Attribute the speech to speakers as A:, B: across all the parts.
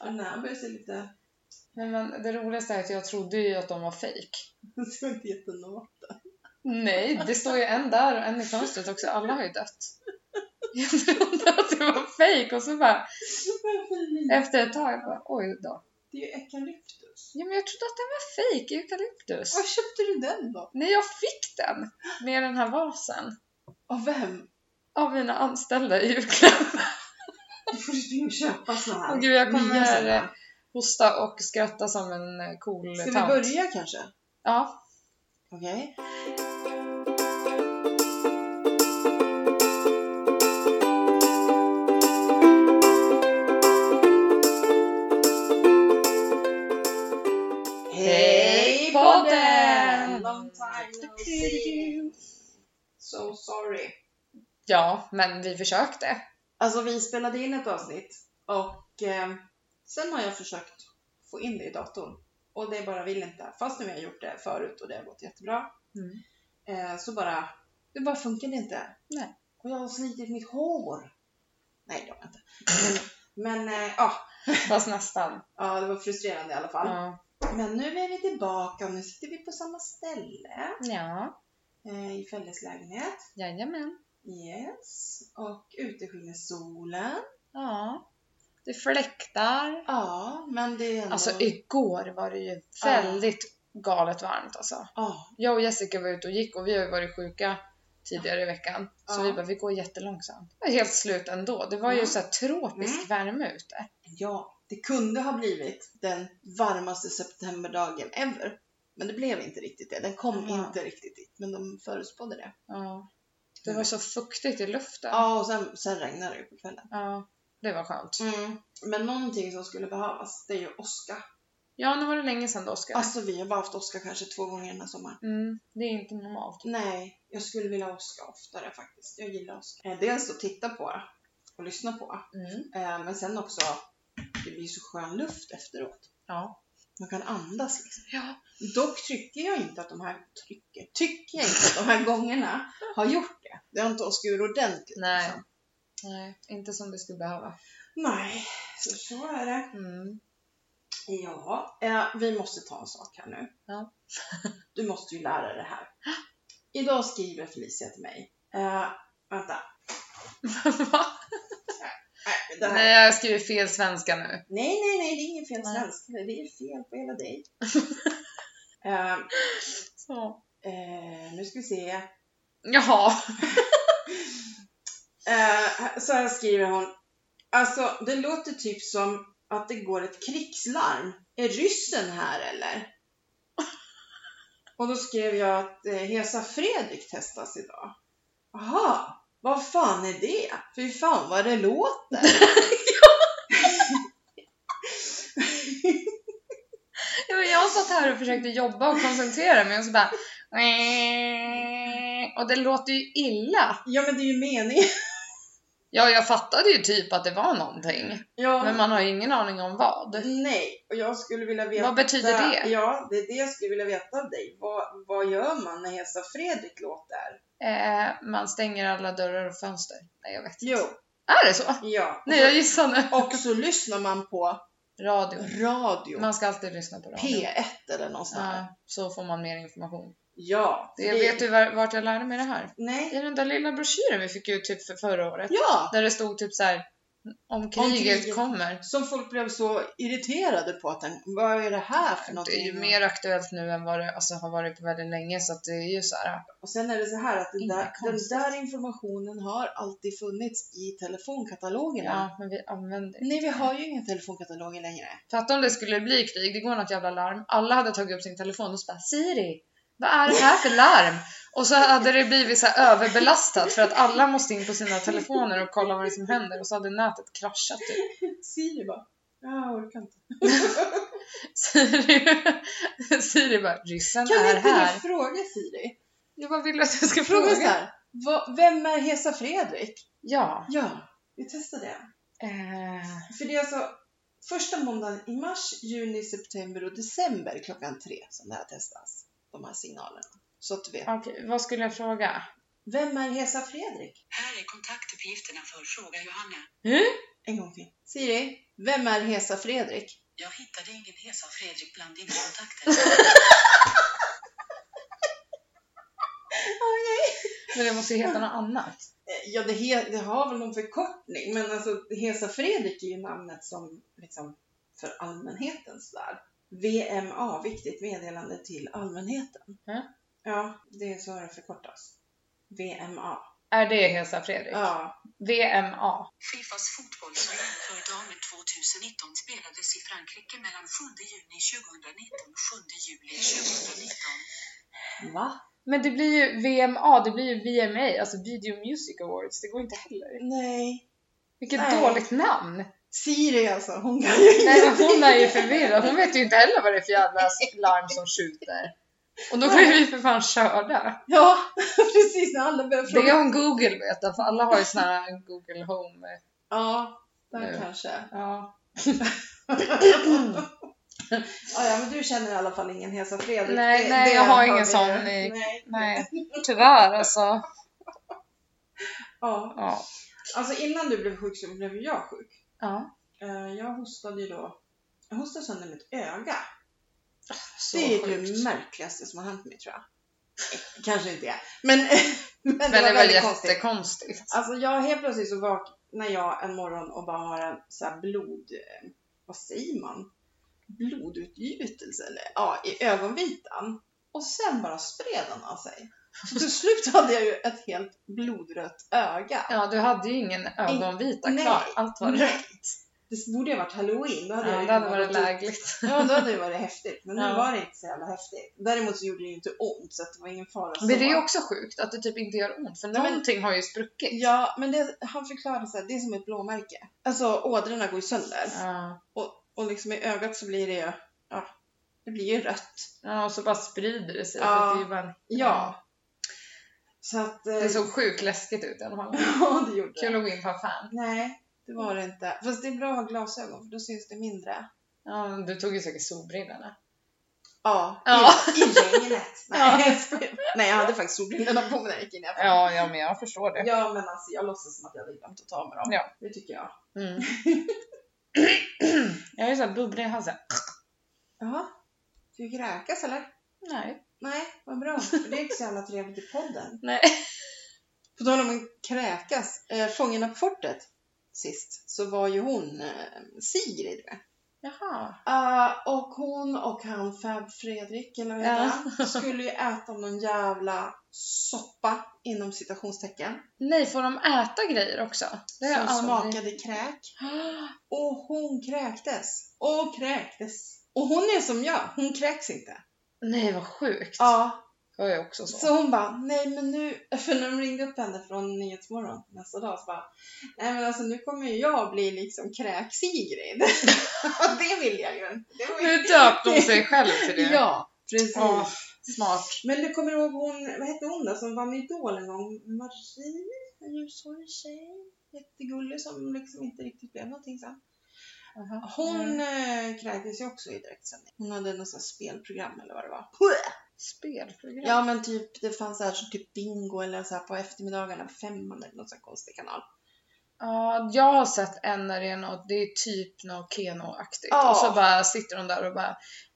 A: Och när han börjar se lite...
B: Nej, men det roligaste är att jag trodde ju att de var fake.
A: Han ser inte jättenåt
B: Nej, det står ju en där och en i fönstret också. Alla har ju dött. Jag trodde att det var fake och så bara efter ett tag jag bara oj då.
A: Eh, Det är ju eukalyptus.
B: Ja, men jag trodde att den var fake eukalyptus.
A: Var köpte du den då?
B: Nej, jag fick den med den här vasen
A: Av vem?
B: av mina anställda i julklapp.
A: Du får ju köpa såna här.
B: Åh, gud, jag kommer-
A: Nya såna.
B: Hosta och skratta som en eh, cool
A: Ska vi
B: tant.
A: börja kanske?
B: Ja.
A: Okej. Hej podden! Long time no see. So sorry.
B: Ja, men vi försökte.
A: Alltså vi spelade in ett avsnitt och eh, sen har jag försökt få in det i datorn och det bara vill inte. Fast nu har jag gjort det förut och det har gått jättebra.
B: Mm.
A: Eh, så bara, det bara funkade inte.
B: Nej.
A: Och jag har slitit mitt hår. Nej det har jag inte. Men, men eh, ja,
B: Fast nästan.
A: ja, det var frustrerande i alla fall.
B: Ja.
A: Men nu är vi tillbaka och nu sitter vi på samma ställe
B: ja.
A: eh, i Felles lägenhet.
B: Jajamän.
A: Yes. Och ute skiner solen.
B: Ja. Det fläktar.
A: Ja, men det är ändå...
B: Alltså igår var det ju väldigt galet varmt alltså.
A: Ja,
B: Jag och Jessica var ute och gick och vi har ju varit sjuka tidigare i veckan. Så
A: Ja.
B: vi bara, vi går jättelångsamt. Jag är helt slut ändå. Det var ju
A: Ja.
B: så här tropisk
A: Mm.
B: värme ute.
A: Ja, det kunde ha blivit den varmaste septemberdagen ever. Men det blev inte riktigt det. Den kom
B: Ja.
A: inte riktigt dit, men de förutspådde det.
B: Ja. Det
A: Mm.
B: var så fuktigt i luften.
A: Ja, och sen, sen regnade det ju på kvällen.
B: Ja, Det var skönt.
A: Mm. Men någonting som skulle behövas, det är ju åska.
B: Ja, nu var det länge sedan det åskade.
A: Alltså vi har bara haft åska kanske två gånger den här sommaren.
B: Mm, det är inte normalt.
A: Nej, jag skulle vilja ha åska oftare faktiskt. Jag gillar åska. Eh, Dels att titta på och lyssna på,
B: Mm.
A: eh, men sen också, det blir så skön luft efteråt.
B: Ja.
A: Man kan andas liksom.
B: Ja.
A: Dock tycker jag inte att de här trycker, tycker jag inte att de här gångerna har gjort det. Det har inte åskat ur ordentligt.
B: Nej.
A: liksom.
B: Nej, inte som det skulle behöva.
A: Nej, så, så är det.
B: Mm.
A: Ja, eh, vi måste ta en sak här nu.
B: Ja.
A: Du måste ju lära dig det här. Idag skriver Felicia till mig. Eh, vänta.
B: Va?
A: Nej, men det här. Nej.
B: Nej, jag skriver fel svenska nu.
A: nej, nej, det är ingen fel
B: Nej.
A: svenska. Det är fel på hela dig. eh,
B: Så.
A: eh, nu ska vi se.
B: Jaha.
A: Eh, så här skriver hon. Alltså, det låter typ som att det går ett krigslarm. Är ryssen här eller? Och då skrev jag att eh, Hesa Fredrik testas idag. Aha, vad fan är det? Fy fan vad det låter.
B: Ja, men jag satt här och försökte jobba och koncentrera mig och så bara... Och det låter ju illa.
A: ja men det är ju meningen.
B: Ja, jag fattade ju typ att det var någonting.
A: Ja,
B: Men man har ju ingen aning om vad.
A: nej, och jag skulle vilja veta.
B: Vad betyder det?
A: Ja, det är det jag skulle vilja veta av dig. Vad, vad gör man när Hesa Fredrik låter?
B: Eh, man stänger alla dörrar och fönster. Nej, jag vet inte.
A: Jo,
B: Är det så?
A: ja.
B: Nej, jag gissar nu.
A: Och så lyssnar man på
B: Radio.
A: radio.
B: Man ska alltid lyssna på radio.
A: P1 eller någonstans. Ja.
B: Ja, så får man mer information.
A: ja
B: Det, vet du var- vart jag lärde mig det här?
A: Nej.
B: I den där lilla broschyren vi fick ut typ för förra året.
A: Ja!
B: Där det stod typ så här. Om kriget,
A: kriget.
B: kommer.
A: Som folk blev så irriterade på att den, vad är det här för
B: Det är
A: någonting?
B: ju mer aktuellt nu än vad det alltså, har varit på väldigt länge så att det är ju så här.
A: Och sen är det så här att den
B: Inte
A: där, den
B: konstigt.
A: där informationen har alltid funnits i telefonkatalogerna.
B: Ja, men vi använder
A: Nej, vi har ju inga telefonkataloger längre.
B: Fatta om det skulle bli krig, det går något jävla larm. Alla hade tagit upp sin telefon och så bara Siri, vad är det här för larm? Och så hade det blivit så här överbelastat för att alla måste in på sina telefoner och kolla vad det är som händer och så hade nätet kraschat typ.
A: Siri bara, jag orkar inte.
B: Siri, Siri bara, ryssen
A: Kan
B: är
A: inte
B: här.
A: du fråga Siri?
B: Jag bara vill att jag ska
A: Fråga
B: fråga.
A: så här, vad, vem är Hesa Fredrik?
B: Ja.
A: Ja, vi testar det.
B: Eh,
A: För det är alltså första måndagen i mars, juni, september och december klockan tre som det här testas. De här signalerna. Så att du vet.
B: Okej, vad skulle jag fråga?
A: Vem är Hesa Fredrik?
C: Här är kontaktuppgifterna för Fråga Johanna.
A: En gång till. Siri, Vem är Hesa Fredrik?
C: Jag hittade ingen Hesa Fredrik bland dina kontakter.
B: Men det måste ju heta något annat.
A: Eh, Ja, det, he, det har väl någon förkortning, men alltså Hesa Fredrik är ju namnet som liksom för allmänhetens värld. VMA, viktigt meddelande till allmänheten.
B: Mm.
A: Ja, det är så det förkortas. VMA.
B: Är det Hesa Fredrik?
A: Ja,
B: VMA.
C: Fifas fotbolls-VM för damer 2019 spelades i Frankrike mellan 7 juni 2019 och 7 juli 2019.
A: va?
B: Men det blir ju VMA, det blir ju VMA, alltså Video Music Awards. Det går inte heller.
A: Nej.
B: Vilket
A: Nej.
B: dåligt namn!
A: Siri alltså, hon kan ju
B: Nej, men
A: ingenting.
B: hon är ju förvirrad. Hon vet ju inte heller vad det är för jävla larm som skjuter. Och då blir vi för fan körda.
A: Ja, precis när alla börjar
B: Det
A: fråga.
B: är om Google vet jag, för alla har ju såna här Google Home.
A: Ja, där
B: Nu.
A: kanske.
B: Ja.
A: Ja, ja, men du känner i alla fall ingen Hesa Fredrik.
B: Nej, nej, jag har ingen
A: vi.
B: sån i-
A: Nej.
B: Nej, tyvärr alltså.
A: Ja.
B: Ja.
A: Alltså innan du blev sjuk så blev ju jag sjuk.
B: ja.
A: Eh, Jag hostade ju då, jag hostade sönder mitt öga.
B: Så
A: Det är typ
B: sjukt.
A: det märkligaste som har hänt mig tror jag. Kanske inte jag, men, men det
B: Men det
A: var
B: var
A: väldigt konstigt.
B: jättekonstigt.
A: Alltså jag helt plötsligt så vaknar jag en morgon och bara har en så här blod, eh, vad säger man? Blodutgjutelse eller ja, i ögonvitan. Och sen bara spred den av sig. Så till slut hade jag ju ett helt blodrött öga.
B: Ja, du hade ju ingen ögonvita
A: Nej.
B: kvar. Allt var rätt.
A: Det borde ju varit halloween. Då hade
B: Ja,
A: jag ju
B: det hade
A: kunnat
B: varit
A: gått ut.
B: lägligt.
A: Ja, då hade det varit häftigt. Men nu
B: Ja.
A: var det inte så jävla häftigt. Däremot så gjorde det ju inte ont så att det var ingen fara så.
B: Men det är ju också sjukt att det typ inte gör ont, för
A: Nej, men-
B: någonting har ju spruckit.
A: Ja, men det, han förklarade så här, det är som ett blåmärke. Alltså ådrorna går ju sönder.
B: Ja.
A: Och liksom i ögat så blir det ju, ja, det blir ju rött.
B: Ja, och så bara sprider det sig.
A: Ja.
B: För att det, är ju bara en...
A: Ja. Så att... eh,
B: det såg sjukt läskigt ut i alla fall.
A: ja, det gjorde det.
B: Kul att gå in på affären.
A: Nej, det var det inte. Fast det är bra att ha glasögon för då syns det mindre.
B: Ja, men du tog ju säkert solbrillorna.
A: Ja,
B: Ja.
A: i, i regnet.
B: Ja.
A: Nej, jag skojar. Nej, jag hade faktiskt solbrillorna på mig när jag gick in i affären.
B: Ja, ja, men jag förstår det.
A: Ja, men alltså jag låtsas som att jag hade glömt att ta med dem.
B: Ja.
A: Det tycker jag.
B: Mm. jag är ju såhär bubblig i halsen.
A: Jaha. Ska vi kräkas eller?
B: Nej.
A: Nej, vad bra. För det är inte så jävla trevligt i podden.
B: Nej.
A: På tal om att kräkas. Eh, Fångarna på fortet sist så var ju hon eh, Sigrid med.
B: Jaha.
A: Eh, och hon och han Fab Fredrik eller vad heter
B: Ja.
A: han, skulle ju äta någon jävla soppa inom citationstecken.
B: Nej, får de äta grejer också? Det har
A: Som
B: jag aldrig-
A: smakade kräk. Och hon kräktes. Och kräktes. Och hon är som jag, hon kräks inte.
B: Nej, vad sjukt.
A: Ja,
B: Jag är också så.
A: Så hon bara, nej men nu, för när de ringde upp henne från Nyhetsmorgon nästa dag så bara, nej men alltså nu kommer ju jag bli liksom kräk-Sigrid. Och det vill jag ju inte. Det var ju-
B: Nu döpte hon sig själv till det.
A: Ja, precis.
B: Åh, smart.
A: Men du kommer ihåg hon, vad hette hon då som vann Idol en gång? Marie, en ljushårig tjej. Jättegullig som liksom inte riktigt blev någonting sen. Hon eh, kräktes ju också i direktsändning. Hon hade något sånt här spelprogram eller vad det var.
B: Spelprogram?
A: Ja men typ det fanns så här som typ bingo eller så här på eftermiddagarna på femman eller någon sån här konstig kanal.
B: Ja, jag har sett en när det är något, det är typ något Keno-aktigt.
A: Ja.
B: Och så bara sitter hon där och bara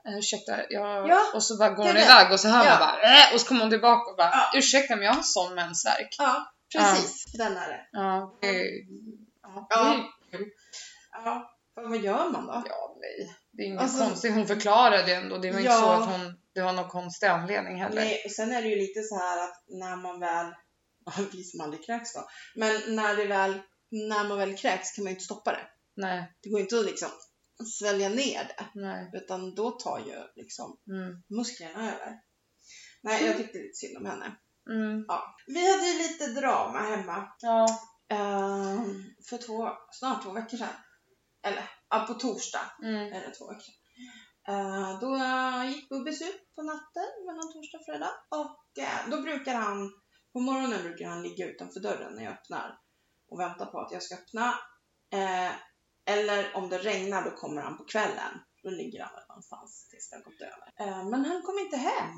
B: eh, ursäkta, jag...
A: Ja,
B: och så bara går
A: det
B: hon
A: är det.
B: iväg och så hör
A: Ja.
B: man bara äh, och så kommer hon tillbaka och bara
A: Ja.
B: ursäkta men jag har sån mensvärk.
A: Ja, precis. Den är det.
B: Ja, det är- ja, det
A: Ja.
B: är kul.
A: Ja. Fan, vad gör man då?
B: ja, nej. Det är inget
A: Alltså-
B: konstigt, hon förklarade det ändå. Det var
A: Ja.
B: inte så att hon, det var någon konstig anledning heller.
A: Nej, och sen är det ju lite så här att när man väl, vi som aldrig kräks då, men när det väl, när man väl kräks kan man ju inte stoppa det.
B: Nej,
A: Det går inte att liksom svälja ner det,
B: nej.
A: utan då tar ju liksom
B: Mm.
A: musklerna över. Nej, jag tyckte lite synd om henne.
B: Mm.
A: Vi hade ju lite drama hemma
B: Ja.
A: Ehm, för två, snart två veckor sedan. Eller, ja, på torsdag
B: Mm.
A: är det två veckor sedan. Eh, då eh, gick Bubbis ut på natten mellan torsdag och fredag. Och eh, då brukar han, på morgonen brukar han ligga utanför dörren när jag öppnar. Och vänta på att jag ska öppna. Eh, eller om det regnar då kommer han på kvällen. Då ligger han väl någonstans tills det har gått över. Eh, men han kom inte hem.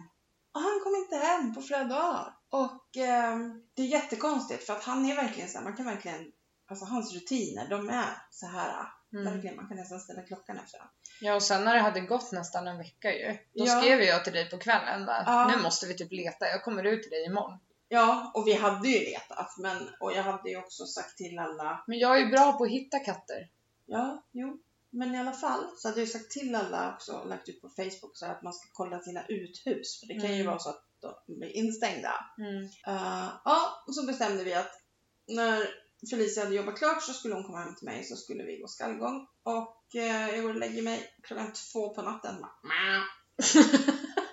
A: Och han kom inte hem på flera dagar. Och ehm, det är jättekonstigt för att han är verkligen så här, man kan verkligen, alltså hans rutiner de är så här
B: Mm.
A: Verkligen, man kan nästan ställa klockan efter den.
B: Ja, och sen när det hade gått nästan en vecka ju, då
A: Ja.
B: skrev jag till dig på kvällen bara,
A: Ja.
B: nu måste vi typ leta, jag kommer ut till dig imorgon.
A: Ja, och vi hade ju letat, men, och jag hade ju också sagt till alla,
B: Men jag är ju bra på att hitta katter.
A: ja, jo, men i alla fall så hade jag sagt till alla också och lagt ut på Facebook så här att man ska kolla sina uthus, för det kan ju
B: Mm.
A: vara så att de blir instängda.
B: Mm.
A: Eh, ja, och så bestämde vi att när Felicia hade jobbat klart så skulle hon komma hem till mig så skulle vi gå skallgång. Och eh, jag går och lägger mig klockan två på natten. Bara, "Mä,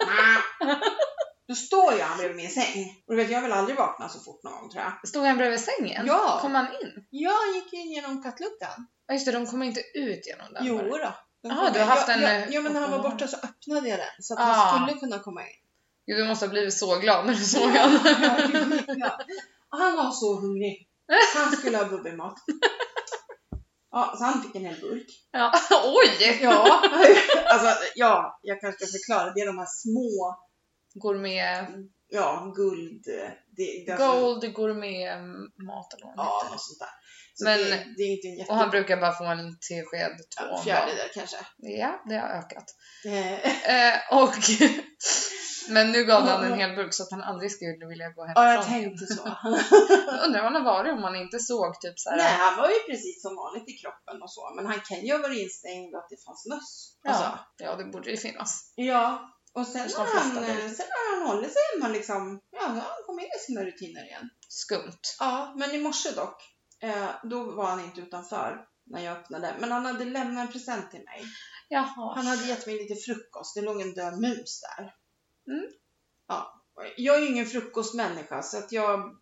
A: mä." Då står jag bredvid min säng. Och du vet, jag vill aldrig vakna så fort någon gång tror jag.
B: Stod han bredvid sängen?
A: Ja.
B: Kom han in?
A: Jag gick in genom kattluckan.
B: Ja just det, de kom inte ut genom den.
A: Jo
B: var det.
A: då. Den
B: Ah,
A: kom
B: du
A: in.
B: har haft
A: jag,
B: en,
A: jag,
B: eh,
A: ja, men när han var
B: öppen-
A: borta så öppnade jag den så att
B: Ah.
A: han skulle kunna komma in.
B: Gud, du måste ha blivit så glad när du såg honom.
A: Ja. Och han var så hungrig. Han skulle ha bubbelmat. Ja, så han fick en hel burk.
B: Ja. Oj!
A: Ja, alltså, ja, jag kanske ska förklara. Det är de här små,
B: Gourmet...
A: ja, guld... eh, Det, det är alltså-
B: Gold gourmet mat eller vad den
A: Ja,
B: heter.
A: något sånt där. Så
B: Men-
A: det, det är inte en jätte...
B: Och han brukar bara få en tesked två om dagen.
A: Fjärdedel kanske.
B: Ja, det har ökat.
A: Eh,
B: Eh, och... Men nu gav han en hel burk så att han aldrig skulle vilja gå
A: Ja, jag
B: hemifrån.
A: tänkte så.
B: Jag undrar vad han har varit om man inte såg typ så här.
A: Nej, han var ju precis som vanligt i kroppen och så. Men han kan ju ha varit instängd och att det fanns möss.
B: Ja.
A: Alltså,
B: Ja, det borde ju finnas.
A: Ja, och sen
B: Hos de
A: har,
B: flesta
A: han,
B: väl.
A: eh, sen har han hållit sig hemma liksom. Ja, han har kommit in i sina rutiner igen.
B: Skumt.
A: Ja, men i morse dock. Eh, då var han inte utanför när jag öppnade. Men han hade lämnat en present till mig.
B: Jaha.
A: Han hade gett mig lite frukost. Det låg en död mus där.
B: Mm.
A: Ja, jag är ju ingen frukostmänniska så att jag,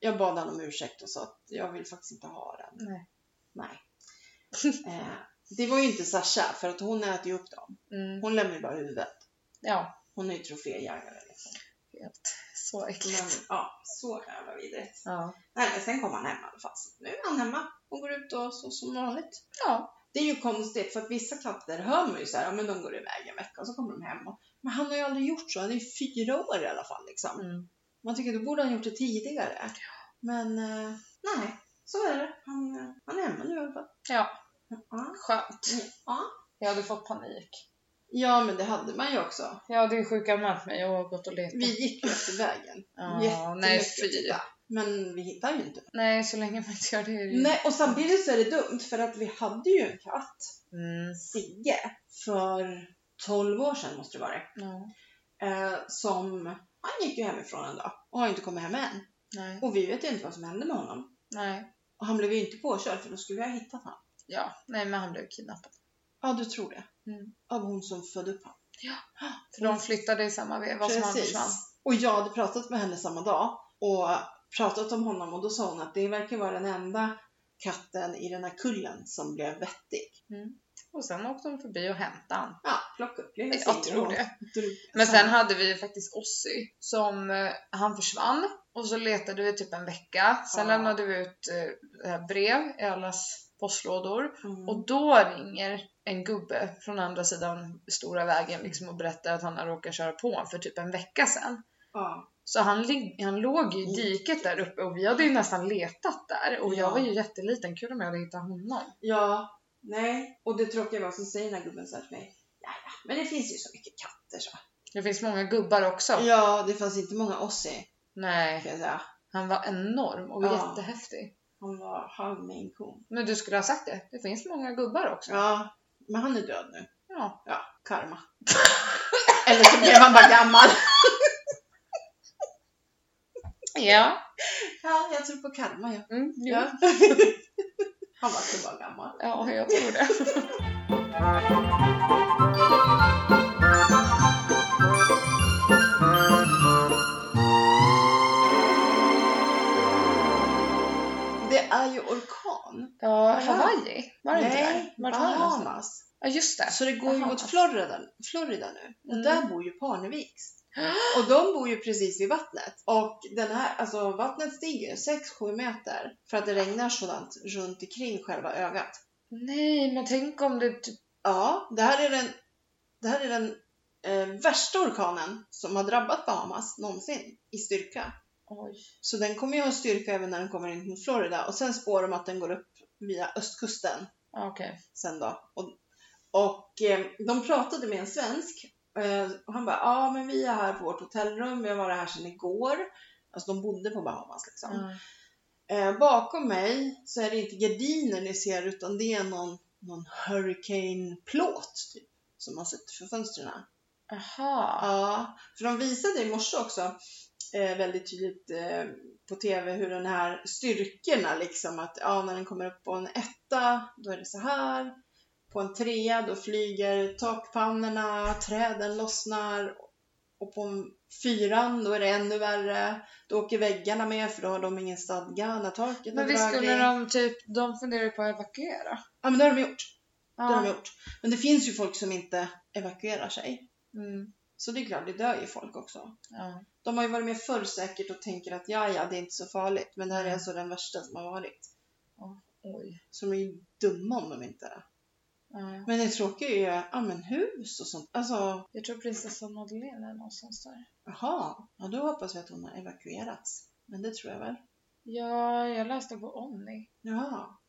A: jag bad honom om ursäkt och sa att jag vill faktiskt inte ha den.
B: Nej.
A: Nej. Eh, det var ju inte Sasha för att hon äter ju upp dem.
B: Mm.
A: Hon lämnar ju bara huvudet.
B: Ja,
A: Hon är ju troféjägare liksom.
B: så äckligt.
A: Men, ja, så jävla vidrigt.
B: Ja.
A: Nej, men sen kom han hem i alla fall. Så Nu är han hemma och går ut och så som vanligt.
B: ja.
A: Det är ju konstigt för att vissa katter hör man ju så här, ja men de går iväg en vecka och så kommer de hem. Och, men han har ju aldrig gjort så, han är ju fyra år i alla fall liksom.
B: Mm.
A: Man tycker då borde han gjort det tidigare. Men eh, nej, så är det. Han, eh, han är hemma nu i alla fall.
B: Ja.
A: Ja.
B: Skönt.
A: Ja.
B: Jag hade fått panik.
A: Ja, men det hade man ju också.
B: Ja, det är sjuka med mig. Jag har gått och letat.
A: Vi gick ju efter vägen.
B: Ja,
A: Jättemycket
B: nej,
A: att
B: fy.
A: titta. Men vi hittade ju inte.
B: Nej, så länge man inte gör det är det ju...
A: Nej, och samtidigt så är det dumt för att vi hade ju en katt,
B: Mm.
A: Sigge, för 12 år sedan måste det vara
B: Ja.
A: eh, som han gick ju hemifrån en dag och har inte kommit hem än.
B: Nej.
A: Och vi vet ju inte vad som hände med honom.
B: Nej.
A: Och han blev ju inte påkörd för då skulle vi ha hittat honom.
B: Ja. Nej, men han blev kidnappad.
A: Ja, du tror det.
B: Mm.
A: Av hon som födde upp honom.
B: För
A: Mm.
B: de flyttade i samma veva som han försvann.
A: Och jag hade pratat med henne samma dag och pratat om honom och då sa hon att det verkar vara den enda katten i den här kullen som blev vettig.
B: Och sen åkte de förbi och hämtade han.
A: Ja, plocka upp lilla
B: Jag
A: Sigge
B: tror
A: och
B: det.
A: drog-
B: Men sen hade vi ju faktiskt Ossi som eh, han försvann och så letade vi typ en vecka. Sen
A: Ja.
B: lämnade vi ut eh, eh, brev i allas postlådor
A: Mm.
B: och då ringer en gubbe från andra sidan stora vägen liksom och berättar att han har råkat köra på honom för typ en vecka sedan.
A: Ja.
B: Så han, lig- han låg i diket där uppe och vi hade ju nästan letat där och jag
A: Ja.
B: var ju jätteliten. Kul om jag hade hittat honom.
A: ja, nej. Och det tråkiga var, så säger den här gubben så här till mig. Ja, ja, men det finns ju så mycket katter så.
B: Det finns många gubbar också.
A: Ja, det fanns inte många Ossi
B: Nej,
A: kan jag säga.
B: han var enorm och
A: Ja.
B: jättehäftig.
A: Han var halv med en ko.
B: Men du skulle ha sagt det. Det finns många gubbar också.
A: Ja, men han är död nu.
B: ja.
A: Ja, karma. Eller så blev han bara gammal.
B: Ja.
A: Ja, jag tror på karma ja.
B: Mm, jo.
A: ja. Han var inte bara gammal.
B: ja, jag tror det.
A: Det är ju orkan.
B: Ja, Hawaii? Var det inte
A: Nej,
B: där? Vart var det någonstans?
A: Bahamas.
B: Ja, just det.
A: Så det går ju
B: Bahamas.
A: mot Florida, Florida nu. Och
B: Mm.
A: där bor ju Parneviks. Och de bor ju precis vid vattnet. Och den här, alltså vattnet stiger 6-7 meter för att det regnar sådant runt omkring själva ögat.
B: Nej, men tänk om det typ...
A: Ja, det här är den, det här är den eh, värsta orkanen som har drabbat Bahamas någonsin i styrka.
B: Oj.
A: Så den kommer ju ha styrka även när den kommer in mot Florida och sen spår de att den går upp via östkusten
B: Ja, Okej.
A: sen då. Och, och eh, de pratade med en svensk eh, och han bara, ja ah, men vi är här på vårt hotellrum, vi har varit här sedan igår. Alltså de bodde på Bahamas liksom.
B: Mm.
A: Eh, bakom mig så är det inte gardiner ni ser utan det är någon, någon hurricane-plåt typ, som man sätter för fönstren.
B: Aha.
A: Ja, för de visade i morse också eh, väldigt tydligt eh, på TV hur den här styrkorna liksom att ja, när den kommer upp på en etta då är det så här. På en trea då flyger takpannorna, träden lossnar och på en fyran då är det ännu värre. Då åker väggarna med för då har de ingen stadga när taket
B: Men
A: är
B: visst skulle
A: dragning.
B: de typ, de funderar ju på att evakuera.
A: Ja men det har de gjort. Det har de
B: Ja.
A: gjort. Men det finns ju folk som inte evakuerar sig.
B: Mm.
A: Så det är klart, det dör ju folk också.
B: ja.
A: De har ju varit med förr säkert och tänker att ja, ja, det är inte så farligt. Men det här är alltså den värsta som har varit.
B: Oj.
A: Så de är ju dumma om de inte är.
B: Ja.
A: Men det tråkiga är ju, ja men hus och sånt. Alltså,
B: Jag tror prinsessan Madeleine är någonstans där.
A: jaha. Ja, då hoppas vi att hon har evakuerats. Men det tror jag väl.
B: Ja, jag läste på Omni.
A: Ja.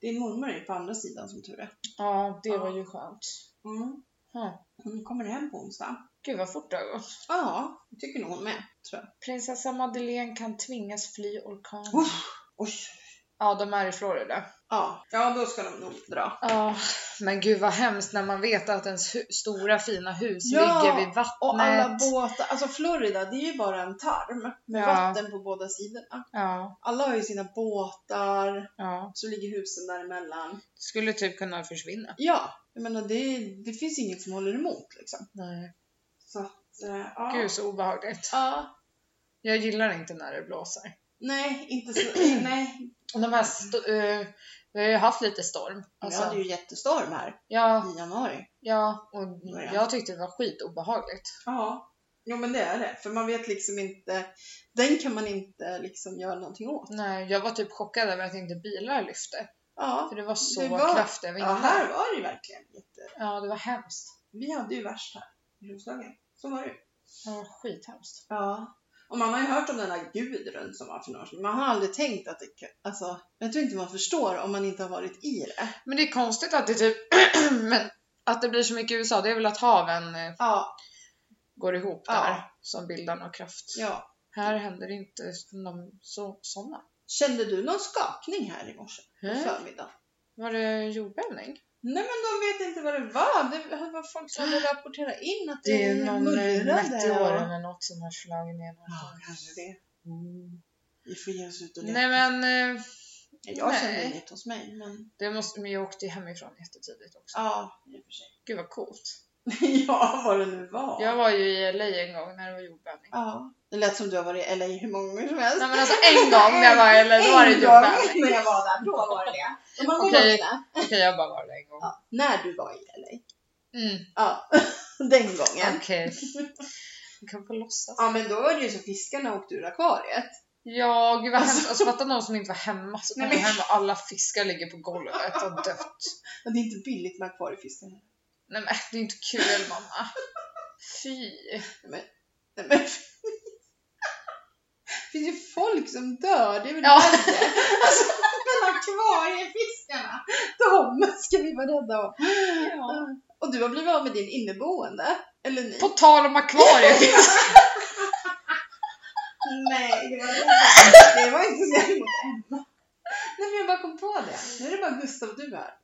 A: Din mormor är på andra sidan som tur är.
B: Ja, det
A: Ja.
B: var ju skönt.
A: Mm.
B: Huh.
A: Hon kommer hem på onsdag.
B: Gud vad fort det har gått.
A: Ja, det tycker nog hon med, tror jag.
B: Prinsessa Madeleine kan tvingas fly orkanen.
A: Uff. Oj.
B: Ja, de är i Florida.
A: Ja. ja, då ska de nog dra.
B: Ja, men gud vad hemskt när man vet att ens hu- stora fina hus
A: Ja,
B: ligger vid vattnet.
A: Och alla båtar, alltså Florida det är ju bara en tarm med
B: Ja.
A: vatten på båda sidorna.
B: ja,
A: Alla har ju sina båtar,
B: ja.
A: så ligger husen däremellan.
B: Skulle typ kunna försvinna.
A: Ja, jag menar det, det finns inget som håller emot liksom.
B: Nej.
A: Så att, eh, ja.
B: Gud så obehagligt.
A: Ja,
B: Jag gillar inte när det blåser.
A: nej, inte så, nej.
B: Och de här sto- eh, vi har ju haft lite storm. Alltså,
A: Vi hade ju jättestorm här
B: ja,
A: i januari.
B: ja, och
A: Ja.
B: jag tyckte det var skitobehagligt.
A: Ja. Jo men det är det, för man vet liksom inte, den kan man inte liksom göra någonting åt.
B: Nej, jag var typ chockad över att inte bilar lyfte.
A: Ja,
B: För det var så
A: Det var-
B: kraftiga
A: ja
B: vindar.
A: här var det ju verkligen jätte...
B: Ja, det var hemskt.
A: Vi hade ju värst här i Roslagen. Så var det ju.
B: Det var skithemskt.
A: Ja. Och man har ju hört om den där Gudrun som var för några år sedan. Man har aldrig tänkt att det kan- alltså, jag tror inte man förstår om man inte har varit i det.
B: Men det är konstigt att det typ, men att det blir så mycket i USA, det är väl att haven eh,
A: Ja,
B: går ihop
A: Ja.
B: där som bildar någon kraft.
A: ja.
B: Här händer det inte någon så, sådana.
A: Kände du någon skakning här i morse på
B: Eh,
A: förmiddagen?
B: Var det jordbävning?
A: Nej men de vet inte vad det var. Det var folk som hade rapporterat in att det,
B: Det är någon eh,
A: mullrade.
B: meteor
A: och-
B: eller något som har slagit ner
A: Ja,
B: någonstans.
A: kanske det.
B: Mm.
A: Vi får ge oss ut och leka.
B: Nej men, eh,
A: jag kände
B: nej.
A: inget hos mig, men
B: det måste, men jag åkte ju hemifrån jättetidigt också.
A: ja, i och för sig.
B: Gud vad coolt.
A: ja, vad det nu var.
B: Jag var ju i LA en gång när det var jordbävning.
A: Ja. Det lät som du har varit i LA hur många gånger som helst.
B: Nej men alltså en gång när jag var i LA, då var det
A: en gång
B: jordbävning.
A: när jag var där, då var det det. De andra
B: Okej.
A: gångerna,
B: Okej, jag bara var där en gång.
A: ja, när du var i LA.
B: Mm,
A: Ja, den gången.
B: okej. Vi kan få låtsas.
A: Ja men då var det ju så fiskarna åkte ur akvariet.
B: Ja, gud vad hemskt. Alltså fatta någon som inte var hemma. Så
A: Nej,
B: kommer
A: men-
B: hem och alla fiskar ligger på golvet och dött.
A: Men det är inte billigt med akvariefiskar.
B: Nej men det är inte kul mamma. Fy.
A: Nej, men- Det finns ju folk som dör, det är väl värre.
B: Ja.
A: Alltså, men akvariefiskarna, de ska vi vara rädda om. Och du har blivit av med din inneboende, eller ni?
B: På tal om akvariet.
A: Nej, det var inte, det var inte så jävla mot Emma. Nej, men jag bara kom på det. Nu är det bara Gustav och du här.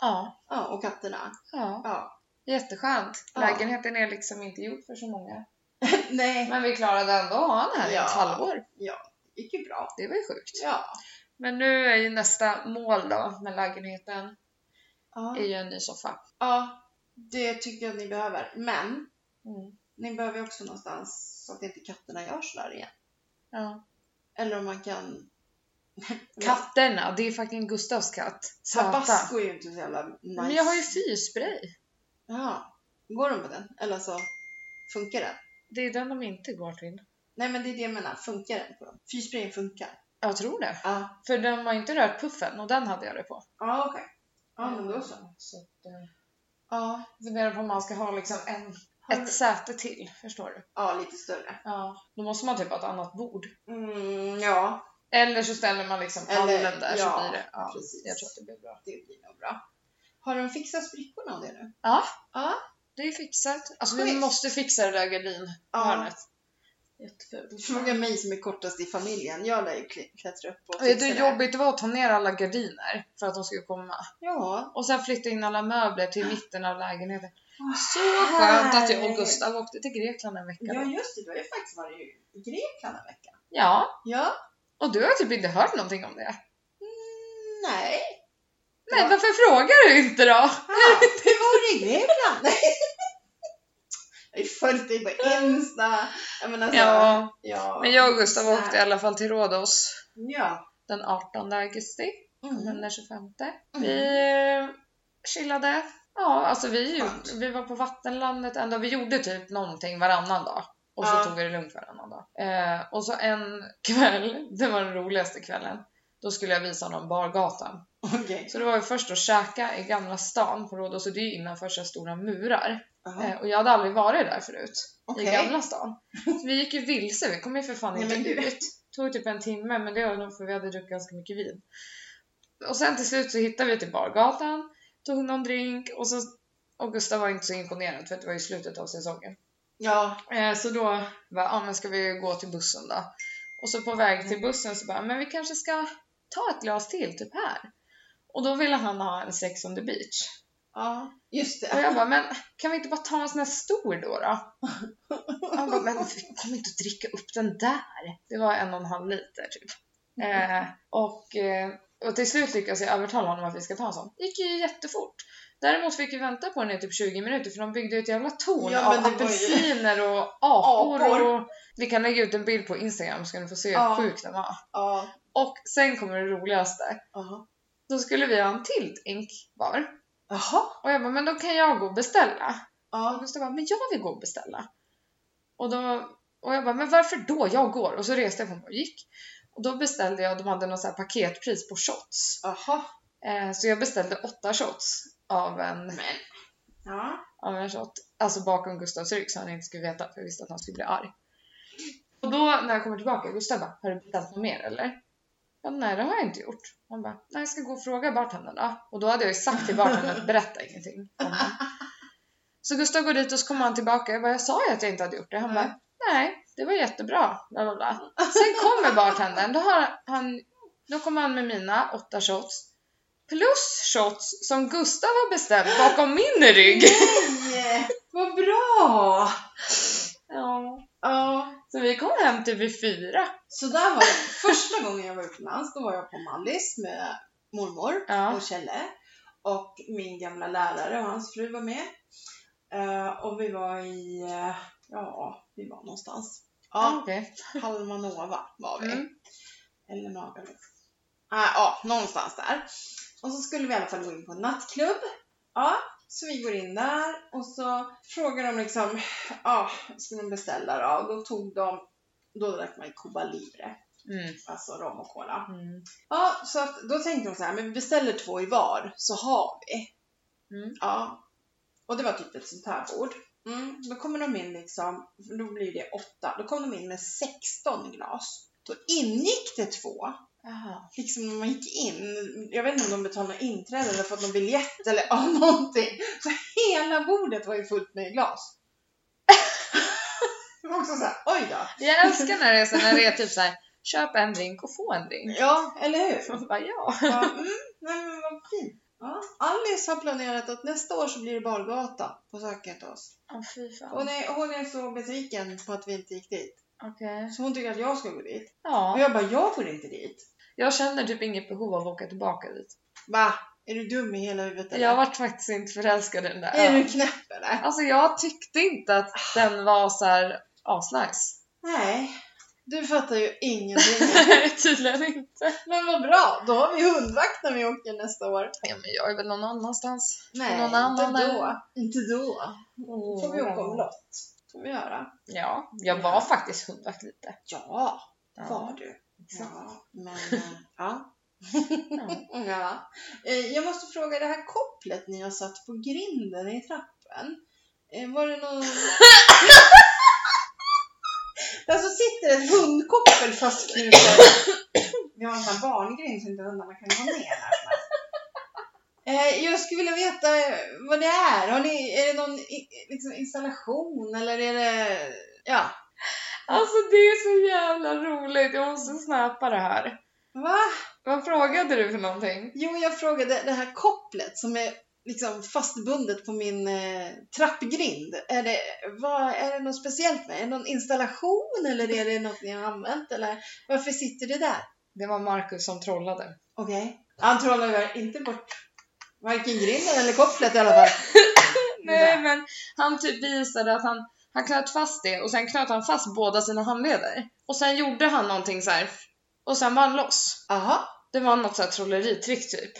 B: Ja,
A: Ja, och katterna.
B: ja.
A: Ja.
B: Jätteskönt.
A: Ja.
B: Lägenheten är liksom inte gjord för så många.
A: Nej,
B: Men vi klarade ändå att ha den här i
A: Ja.
B: ett halvår.
A: det gick ju bra.
B: Det var ju sjukt.
A: Ja.
B: Men nu är ju nästa mål då med lägenheten
A: Ja.
B: är ju en ny soffa.
A: ja, det tycker jag att ni behöver. Men
B: Mm.
A: ni behöver ju också någonstans så att inte katterna gör sådär igen.
B: Ja.
A: Eller om man kan...
B: Katterna, det är fucking Gustavs katt. Satan.
A: Tabasco är ju inte så jävla nice.
B: Men jag har ju fyrspray.
A: Ja. Går de med den? Eller så funkar den?
B: Det är den de inte går till.
A: Nej, men det är det jag menar. Funkar den på dem? Fyrsprayen funkar.
B: Jag tror det.
A: Ja.
B: För den har inte rört puffen och den hade jag det på.
A: Ja, okej. Ja, men då så.
B: så att, eh,
A: Ja.
B: jag funderar på om man ska ha liksom en,
A: Har du-
B: ett säte till. Förstår du?
A: Ja, lite större.
B: Ja. Då måste man typ ha ett annat bord.
A: Mm, ja,
B: Eller så ställer man liksom
A: Eller-
B: pallen där
A: ja,
B: så blir det. Ja,
A: precis.
B: jag tror att det blir bra.
A: Det blir nog bra. Har de fixat sprickorna av det nu?
B: Ja.
A: Ja.
B: Det är fixat. Alltså vi
A: Schysst.
B: måste fixa det där gardinhörnet.
A: Jättefult. Fråga mig som är kortast i familjen. Jag lär ju kli- klättra upp och
B: Vet du hur
A: det.
B: jobbigt det var att ta ner alla gardiner för att de skulle komma?
A: Ja.
B: Och sen flytta in alla möbler till mitten av lägenheten.
A: Så
B: Skönt att jag och Gustav åkte till Grekland en vecka
A: Ja
B: då.
A: just det, du har ju faktiskt varit i Grekland en vecka.
B: Ja,
A: Ja.
B: och du har typ inte hört någonting om det.
A: Mm, nej.
B: Nej,
A: Ja.
B: varför frågar du inte då?
A: Ah, hur var det i Grekland? Nej. Jag har ju följt dig på Insta. Jag menar så,
B: Ja,
A: ja.
B: men jag och Gustav åkte i alla fall till Rhodos
A: Ja.
B: den 18 augusti,
A: Mm.
B: men den 25.
A: Mm.
B: Vi eh, chillade. Ja, alltså vi,
A: Skönt.
B: vi var på vattenlandet en dag. Vi gjorde typ någonting varannan dag. Och så
A: Ja.
B: tog vi det lugnt varannan dag. Eh, och så en kväll, det var den roligaste kvällen, då skulle jag visa honom bargatan.
A: Okej.
B: Så det var ju först att käka i Gamla stan på Rhodos och det är ju innanför så här stora murar.
A: Jaha.
B: Eh, och jag hade aldrig varit där förut, i
A: Okej.
B: Gamla stan. Så vi gick ju vilse, vi kom ju för fan
A: Nej,
B: inte
A: men gud.
B: ut. tog typ en timme, men det var nog för vi hade druckit ganska mycket vin. Och sen till slut så hittade vi till bargatan, tog någon drink och så och Gustav var inte så imponerad för att det var ju slutet av säsongen.
A: Ja.
B: Eh, så då bara, ja men ska vi gå till bussen då? Och så på väg till bussen så bara, men vi kanske ska ta ett glas till, typ här. Och då ville han ha en sex on the beach.
A: ja. Just
B: Och
A: det.
B: jag bara, men kan vi inte bara ta en sån här stor då? då? Han bara, men vi kommer inte att dricka upp den där. Det var en och en halv liter typ. Eh, och, eh, och till slut lyckas jag övertala honom att vi ska ta en sån. Det gick ju jättefort. Däremot fick vi vänta på den i typ 20 minuter för de byggde ju ett jävla torn
A: Ja, men
B: av
A: det var ju-
B: apelsiner och apor.
A: Apor.
B: Och, vi kan lägga ut en bild på Instagram så kan du få se
A: Ja.
B: hur sjuk den var.
A: Ja.
B: Och sen kommer det roligaste.
A: Jaha.
B: Då skulle vi ha en till drink var.
A: Jaha.
B: Och jag bara, men då kan jag gå och beställa. Och
A: Ja.
B: Gustav bara, men jag vill gå och beställa. Och, då, och jag bara, men varför då? Jag går. Och så reste jag på mig och gick. Och då beställde jag, de hade något så här paketpris på shots.
A: Jaha.
B: Eh, så jag beställde åtta shots av en,
A: Men. Ja.
B: av en shot. Alltså bakom Gustavs rygg så han inte skulle veta, för jag visste att han skulle bli arg. Och då när jag kommer tillbaka, Gustav bara, har du beställt något mer eller? Ja, nej det har jag inte gjort. Han bara, nej jag ska gå och fråga bartendern då. Och då hade jag ju sagt till bartendern att berätta ingenting. om det. Så Gustav går dit och så kommer han tillbaka. Jag bara, jag sa ju att jag inte hade gjort det. Han
A: Mm.
B: bara, nej det var jättebra. Bla, bla, bla. Sen kommer bartendern, då, har han, då kommer han med mina åtta shots. Plus shots som Gustav har beställt bakom min rygg.
A: Nej. Vad bra!
B: Ja.
A: Ja.
B: Så vi kom hem typ vid fyra.
A: Så där var det. Första gången jag var utomlands, då var jag på Mallis med mormor
B: Ja.
A: och Kjelle. Och min gamla lärare och hans fru var med. Eh, och vi var i, eh, ja, vi var någonstans. Ja,
B: Okej.
A: Palmanova var vi.
B: Mm.
A: Eller Magaluf. Ah, ja, någonstans där. Och så skulle vi i alla fall gå in på en nattklubb. Ja, så vi går in där och så frågar de liksom, ja, vad ska de beställa då? Då tog de, då drack man ju Cuba Libre,
B: Mm.
A: alltså rom och cola.
B: Mm.
A: Ja, så att, då tänkte de så här, men vi beställer två i var så har vi.
B: Mm.
A: Ja. Och det var typ ett sånt här bord. Mm. Då kommer de in liksom, då blir det åtta, då kom de in med 16 glas. Då ingick det två,
B: Aha.
A: liksom när man gick in. Jag vet inte om de betalade inträde eller fått någon biljett eller ja, någonting. Så hela bordet var ju fullt med glas. det var också så här, oj då.
B: Jag älskar när det är så när det är typ så här, köp en drink och få en drink.
A: Ja, eller hur?
B: Man bara, ja.
A: Ja, mm, nej men vad fint. Ja. Alice har planerat att nästa år så blir det bargata på Sökert oss.
B: Åh, fy fan.
A: Hon är, hon är så besviken på att vi inte gick dit.
B: Okej.
A: Så hon tycker att jag ska gå dit. Och
B: Ja.
A: jag bara, jag går inte dit.
B: Jag känner typ inget behov av att åka tillbaka dit.
A: Va? Är du dum i hela huvudet eller?
B: Jag vart faktiskt inte förälskad i den där
A: Är
B: ön.
A: du knäpp eller?
B: Alltså jag tyckte inte att den var så här asnice.
A: Nej. Du fattar ju ingenting.
B: Tydligen inte.
A: men vad bra, då har vi hundvakt när vi åker nästa år.
B: Ja, men jag är väl någon annanstans.
A: Nej,
B: Någon annan
A: inte
B: där.
A: då. Inte då. Då får vi åka omlott. får vi göra.
B: Ja, jag var faktiskt hundvakt lite.
A: Ja,
B: Ja.
A: var du.
B: Exakt.
A: Ja, men eh, ja.
B: Ja.
A: Ja. Eh, Jag måste fråga, det här kopplet ni har satt på grinden i trappen, eh, var det någon... Alltså, Där så sitter ett hundkoppel fastknutet vi har en sån här barngrind som inte undrar man kan gå ner här. Eh, jag skulle vilja veta vad det är. Har ni, är det någon i, liksom installation eller är det... Ja.
B: Alltså det är så jävla roligt, jag måste snappa det här.
A: Va?
B: Vad frågade du för någonting?
A: Jo, jag frågade det här kopplet som är liksom fastbundet på min eh, trappgrind. Är det, vad, är det något speciellt med? Är det någon installation eller är det något ni har använt? Eller varför sitter det där?
B: Det var Markus som trollade.
A: Okej. Han trollar väl inte bort varken grinden eller kopplet i alla fall.
B: Nej men han typ visade att han, han knöt fast det och sen knöt han fast båda sina handleder. Och sen gjorde han någonting så här. och sen var han loss.
A: Jaha.
B: Det var något så här trolleritrick typ.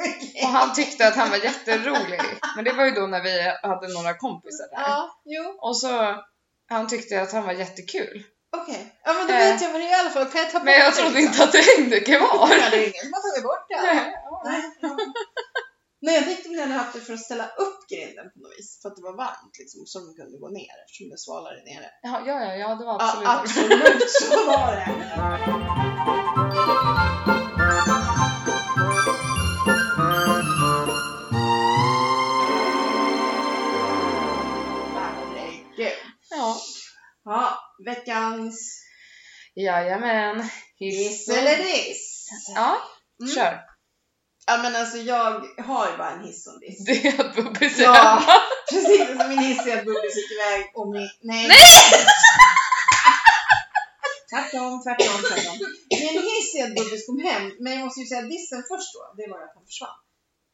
A: Okej.
B: Och han tyckte att han var jätterolig. Men det var ju då när vi hade några kompisar där.
A: Ja, jo.
B: Och så, han tyckte att han var jättekul.
A: Okej. Ja, men då
B: Eh.
A: vet jag vad det är i alla fall. Kan jag ta bort
B: Men jag
A: det,
B: trodde
A: liksom?
B: inte att det hängde
A: Ja,
B: kvar.
A: det är ingen som har tagit bort det.
B: Nej.
A: Nej. ja. Nej, jag tänkte om ni hade haft det för att ställa upp grinden på något vis. För att det var varmt liksom, så de kunde gå ner eftersom det svalade nere.
B: Ja, ja, ja, ja, det var
A: Ja,
B: absolut.
A: absolut så var det. Herregud.
B: Ja.
A: Ja, veckans
B: Jajamän.
A: hiss eller diss.
B: Ja,
A: Mm.
B: kör.
A: Ja men alltså jag har ju bara en hiss och en diss.
B: Det är att Bubbis är
A: Ja,
B: hemma.
A: precis. Alltså, min hiss är att Bubbis gick iväg och min... Nej! tvärtom, tvärtom, tvärtom. Min hiss är att Bubbis kom hem, men jag måste ju säga dissen först då. Det var ju att han försvann.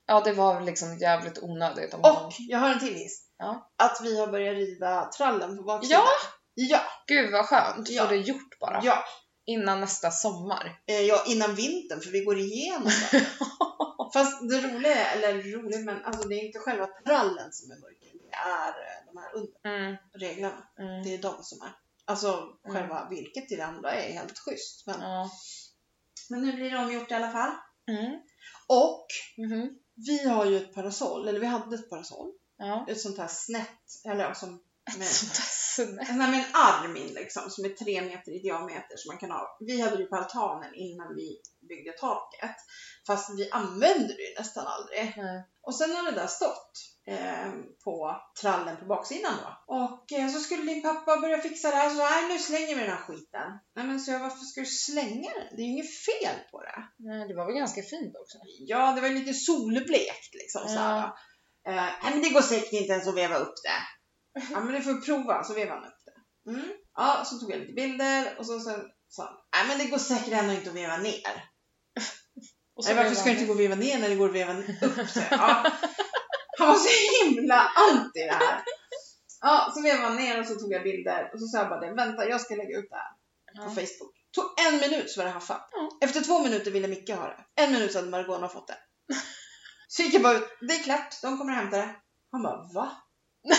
B: Ja, det var väl liksom jävligt onödigt om
A: Och
B: honom.
A: jag har en till hiss.
B: Ja.
A: Att vi har börjat rida trallen på baksidan.
B: Ja.
A: Ja!
B: Gud vad skönt.
A: Ja.
B: Få det gjort bara.
A: Ja.
B: Innan nästa sommar.
A: Eh, ja, innan vintern för vi går igenom den. Fast det roliga, är- eller roliga, men alltså det är inte själva trallen som är mörker. Det är eh, de här under-
B: Mm,
A: reglerna.
B: mm.
A: Det är de som är. Alltså själva virket i det andra är helt schysst. Men,
B: Ja.
A: men nu blir det omgjort i alla fall.
B: Mm.
A: Och
B: mhm,
A: vi har ju ett parasoll, eller vi hade ett parasoll.
B: Ja.
A: Ett sånt här snett, eller ja, som med,
B: Sånt där snett.
A: en sån här med en arm in liksom, som är tre meter i diameter som man kan ha. Vi hade det ju på altanen innan vi byggde taket. Fast vi använde det ju nästan aldrig.
B: Nej.
A: Och sen har det där stått eh, på trallen på baksidan då. Och eh, så skulle din pappa börja fixa det här så nej nu slänger vi den här skiten. Nej men så jag, varför ska du slänga den? Det är ju inget fel på det.
B: Nej, det var väl ganska fint också.
A: Ja, det var lite solblekt liksom så här.
B: Ja.
A: Eh, nej men det går säkert inte ens att veva upp det. Ja men du får prova, så vevade han upp det. Mm. Ja, så tog jag lite bilder och så sen sa han, nej men det går säkert ändå inte att veva ner.
B: Och
A: Nej, varför
B: blev
A: ska det
B: han-
A: inte gå att veva ner när det går att veva upp? Så, ja. Han var så himla anti det här. Ja, så vevade han ner och så tog jag bilder och så sa jag bara det, vänta jag ska lägga ut det här på
B: Ja.
A: Facebook. Tog en minut så var det haffat.
B: Ja.
A: Efter två minuter ville Micke ha det. En minut så hade Margona fått det. Så gick jag bara ut, det är klart, de kommer att hämta det. Han bara va?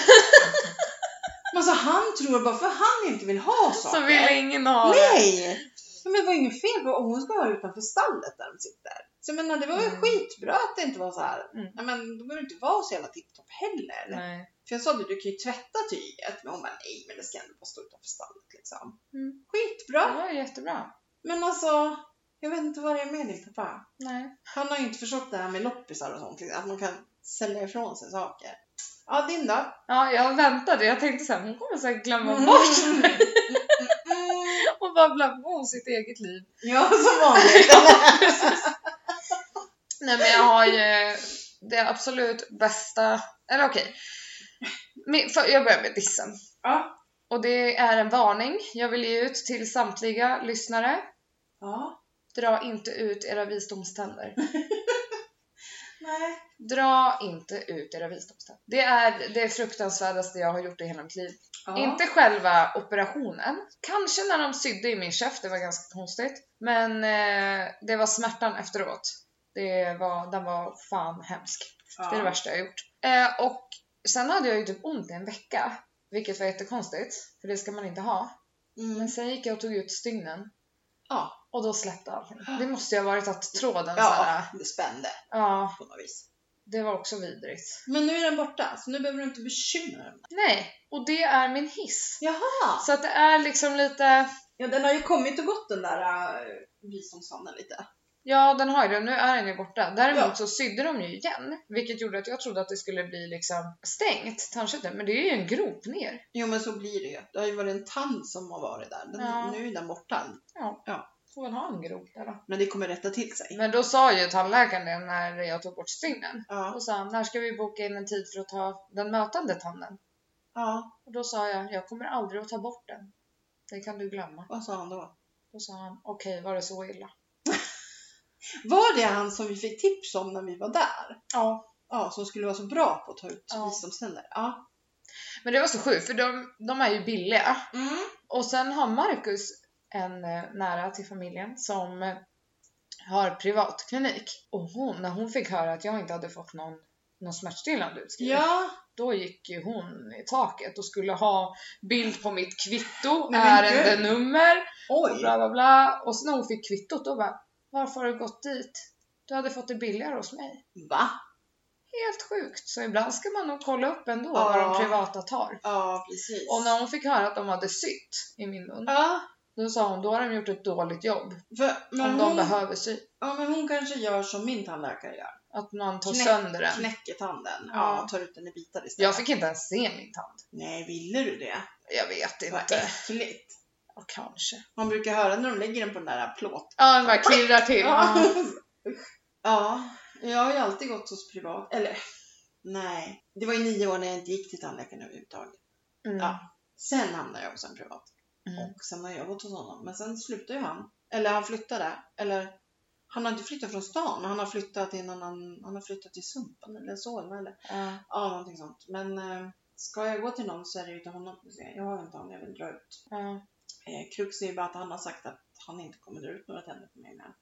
A: Men alltså han tror bara för han inte vill ha saker.
B: Så ville ingen ha det.
A: Nej! Men det var ju inget fel på om hon ska ha utanför stallet där de sitter. Så jag menar, det var ju
B: Mm.
A: skitbra att det inte var så här.
B: Mm.
A: Nej, men då behöver det inte vara så jävla tipptopp heller.
B: Nej.
A: För jag sa det, du kan ju tvätta tyget. Men hon bara, nej men det ska ändå bara stå utanför stallet liksom.
B: Mm. Det
A: Skitbra!
B: var jättebra. Men
A: Men alltså, jag vet inte vad det är med din pappa.
B: nej.
A: Han har ju inte förstått det här med loppisar och sånt. Liksom, att man kan sälja ifrån sig saker. Ja, din då?
B: Ja, jag väntade. Jag tänkte så här, hon kommer säkert glömma
A: Mm.
B: bort mig
A: Mm.
B: och bara glömma om sitt eget liv.
A: Ja, som vanligt.
B: Nej men jag har ju det absolut bästa, eller okej. Min- för- Jag börjar med dissen.
A: ja.
B: Och det är en varning jag vill ge ut till samtliga lyssnare.
A: ja.
B: Dra inte ut era visdomständer.
A: Nej.
B: Dra inte ut era visdomständer. Det är det fruktansvärdaste jag har gjort i hela mitt liv.
A: Ja.
B: Inte själva operationen. Kanske när de sydde i min käft, det var ganska konstigt. Men eh, det var smärtan efteråt. Det var, den var fan hemsk. Det är det värsta jag har gjort. Eh, och sen hade jag ju typ ont i en vecka. Vilket var jättekonstigt, för det ska man inte ha.
A: Mm.
B: Men sen gick jag och tog ut stygnen.
A: Ja.
B: Och då släppte allting. Det måste ju ha varit att tråden Ah. ja.
A: Ja,
B: såhär...
A: det spände
B: Ja,
A: på något vis.
B: det var också vidrigt.
A: Men nu är den borta, så nu behöver du inte bekymra dig.
B: Nej, och det är min hiss.
A: Jaha!
B: Så att det är liksom lite...
A: Ja, den har ju kommit och gått den där äh, visdomshanden lite.
B: Ja, den har ju det. Nu är den ju borta. Däremot
A: Ja.
B: så sydde de ju igen, vilket gjorde att jag trodde att det skulle bli liksom stängt, tandköttet. Men det är ju en grop ner.
A: Jo men så blir det ju. Det har ju varit en tand som har varit där. Den,
B: Ja.
A: Nu är den borta.
B: Får väl ha en grop där då.
A: Men det kommer rätta till sig.
B: Men då sa ju tandläkaren det när jag tog bort stygnen.
A: Ja.
B: Och sa han, när ska vi boka in en tid för att ta den mötande tanden?
A: ja.
B: Och då sa jag, jag kommer aldrig att ta bort den. Det kan du glömma.
A: Vad sa han då?
B: Då sa han, okej var det så illa?
A: Var det han som vi fick tips om när vi var där?
B: Ja.
A: Ja, som skulle vara så bra på att ta ut
B: Ja.
A: visdomständer. Ja.
B: Men det var så sjukt för de, de är ju billiga.
A: Mm.
B: Och sen har Marcus en eh, nära till familjen som eh, har privatklinik. Och hon, när hon fick höra att jag inte hade fått någon, någon smärtstillande utskriven,
A: Ja,
B: då gick ju hon i taket och skulle ha bild på mitt kvitto,
A: Nej, men
B: ärendenummer och
A: oj.
B: bla bla bla. Och sen när hon fick kvittot då bara, varför har du gått dit? Du hade fått det billigare hos mig.
A: Va?
B: Helt sjukt! Så ibland ska man nog kolla upp ändå
A: Ja.
B: vad de privata tar.
A: Ja, precis.
B: Och när hon fick höra att de hade sytt i min mun,
A: Ja,
B: då sa hon, då har de gjort ett dåligt jobb.
A: för, men,
B: om
A: hon,
B: de behöver sy.
A: ja, men hon kanske gör som min tandläkare gör.
B: Att man tar
A: Knä-
B: sönder den.
A: Knäcker tanden.
B: Ja.
A: Ja. tar ut den i bitar istället.
B: Jag fick inte ens se min tand.
A: Nej, ville du det?
B: Jag vet
A: Vad
B: inte.
A: äckligt.
B: Ja, kanske.
A: Man brukar höra när de lägger den på den där plåt.
B: Ja, den bara klirrar till. Ja.
A: ja, jag har ju alltid gått hos privat. Eller, nej. Det var ju nio år när jag inte gick till tandläkaren överhuvudtaget.
B: Mm.
A: Ja. Sen hamnade jag hos en privat.
B: Mm.
A: Och sen har jag gått hos honom. Men sen slutade ju han. Eller han flyttade. Eller han har inte flyttat från stan. Han har flyttat till en annan, han har flyttat till Sumpan eller Solna eller
B: Ja.
A: ja, någonting sånt. Men eh, ska jag gå till någon så är det ju till honom. Så Jag jag har inte honom, jag vill dra ut.
B: Ja.
A: Eh, Krux är ju bara att han har sagt att han inte kommer dra ut några tänder på mig med.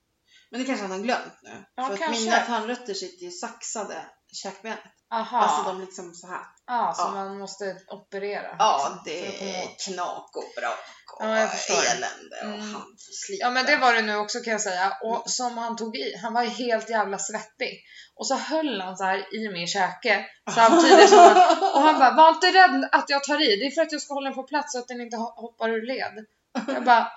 A: Men det kanske han har glömt nu.
B: Ja,
A: För
B: kanske.
A: att mina tandrötter sitter ju saxade i käkbenet.
B: Aha.
A: Alltså de liksom så här.
B: ja, så
A: Ja.
B: man måste operera.
A: Ja,
B: liksom, för att
A: det
B: komma
A: är
B: åt.
A: knak och brak och
B: Ja, jag förstår.
A: elände och
B: Mm.
A: han får slita.
B: Ja men det var det nu också kan jag säga. Och
A: Mm.
B: som han tog i, han var ju helt jävla svettig. Och så höll han så här i min käke samtidigt som han... Och han bara, var inte rädd att jag tar i, det är för att jag ska hålla den på plats så att den inte ho- hoppar ur led. Jag bara...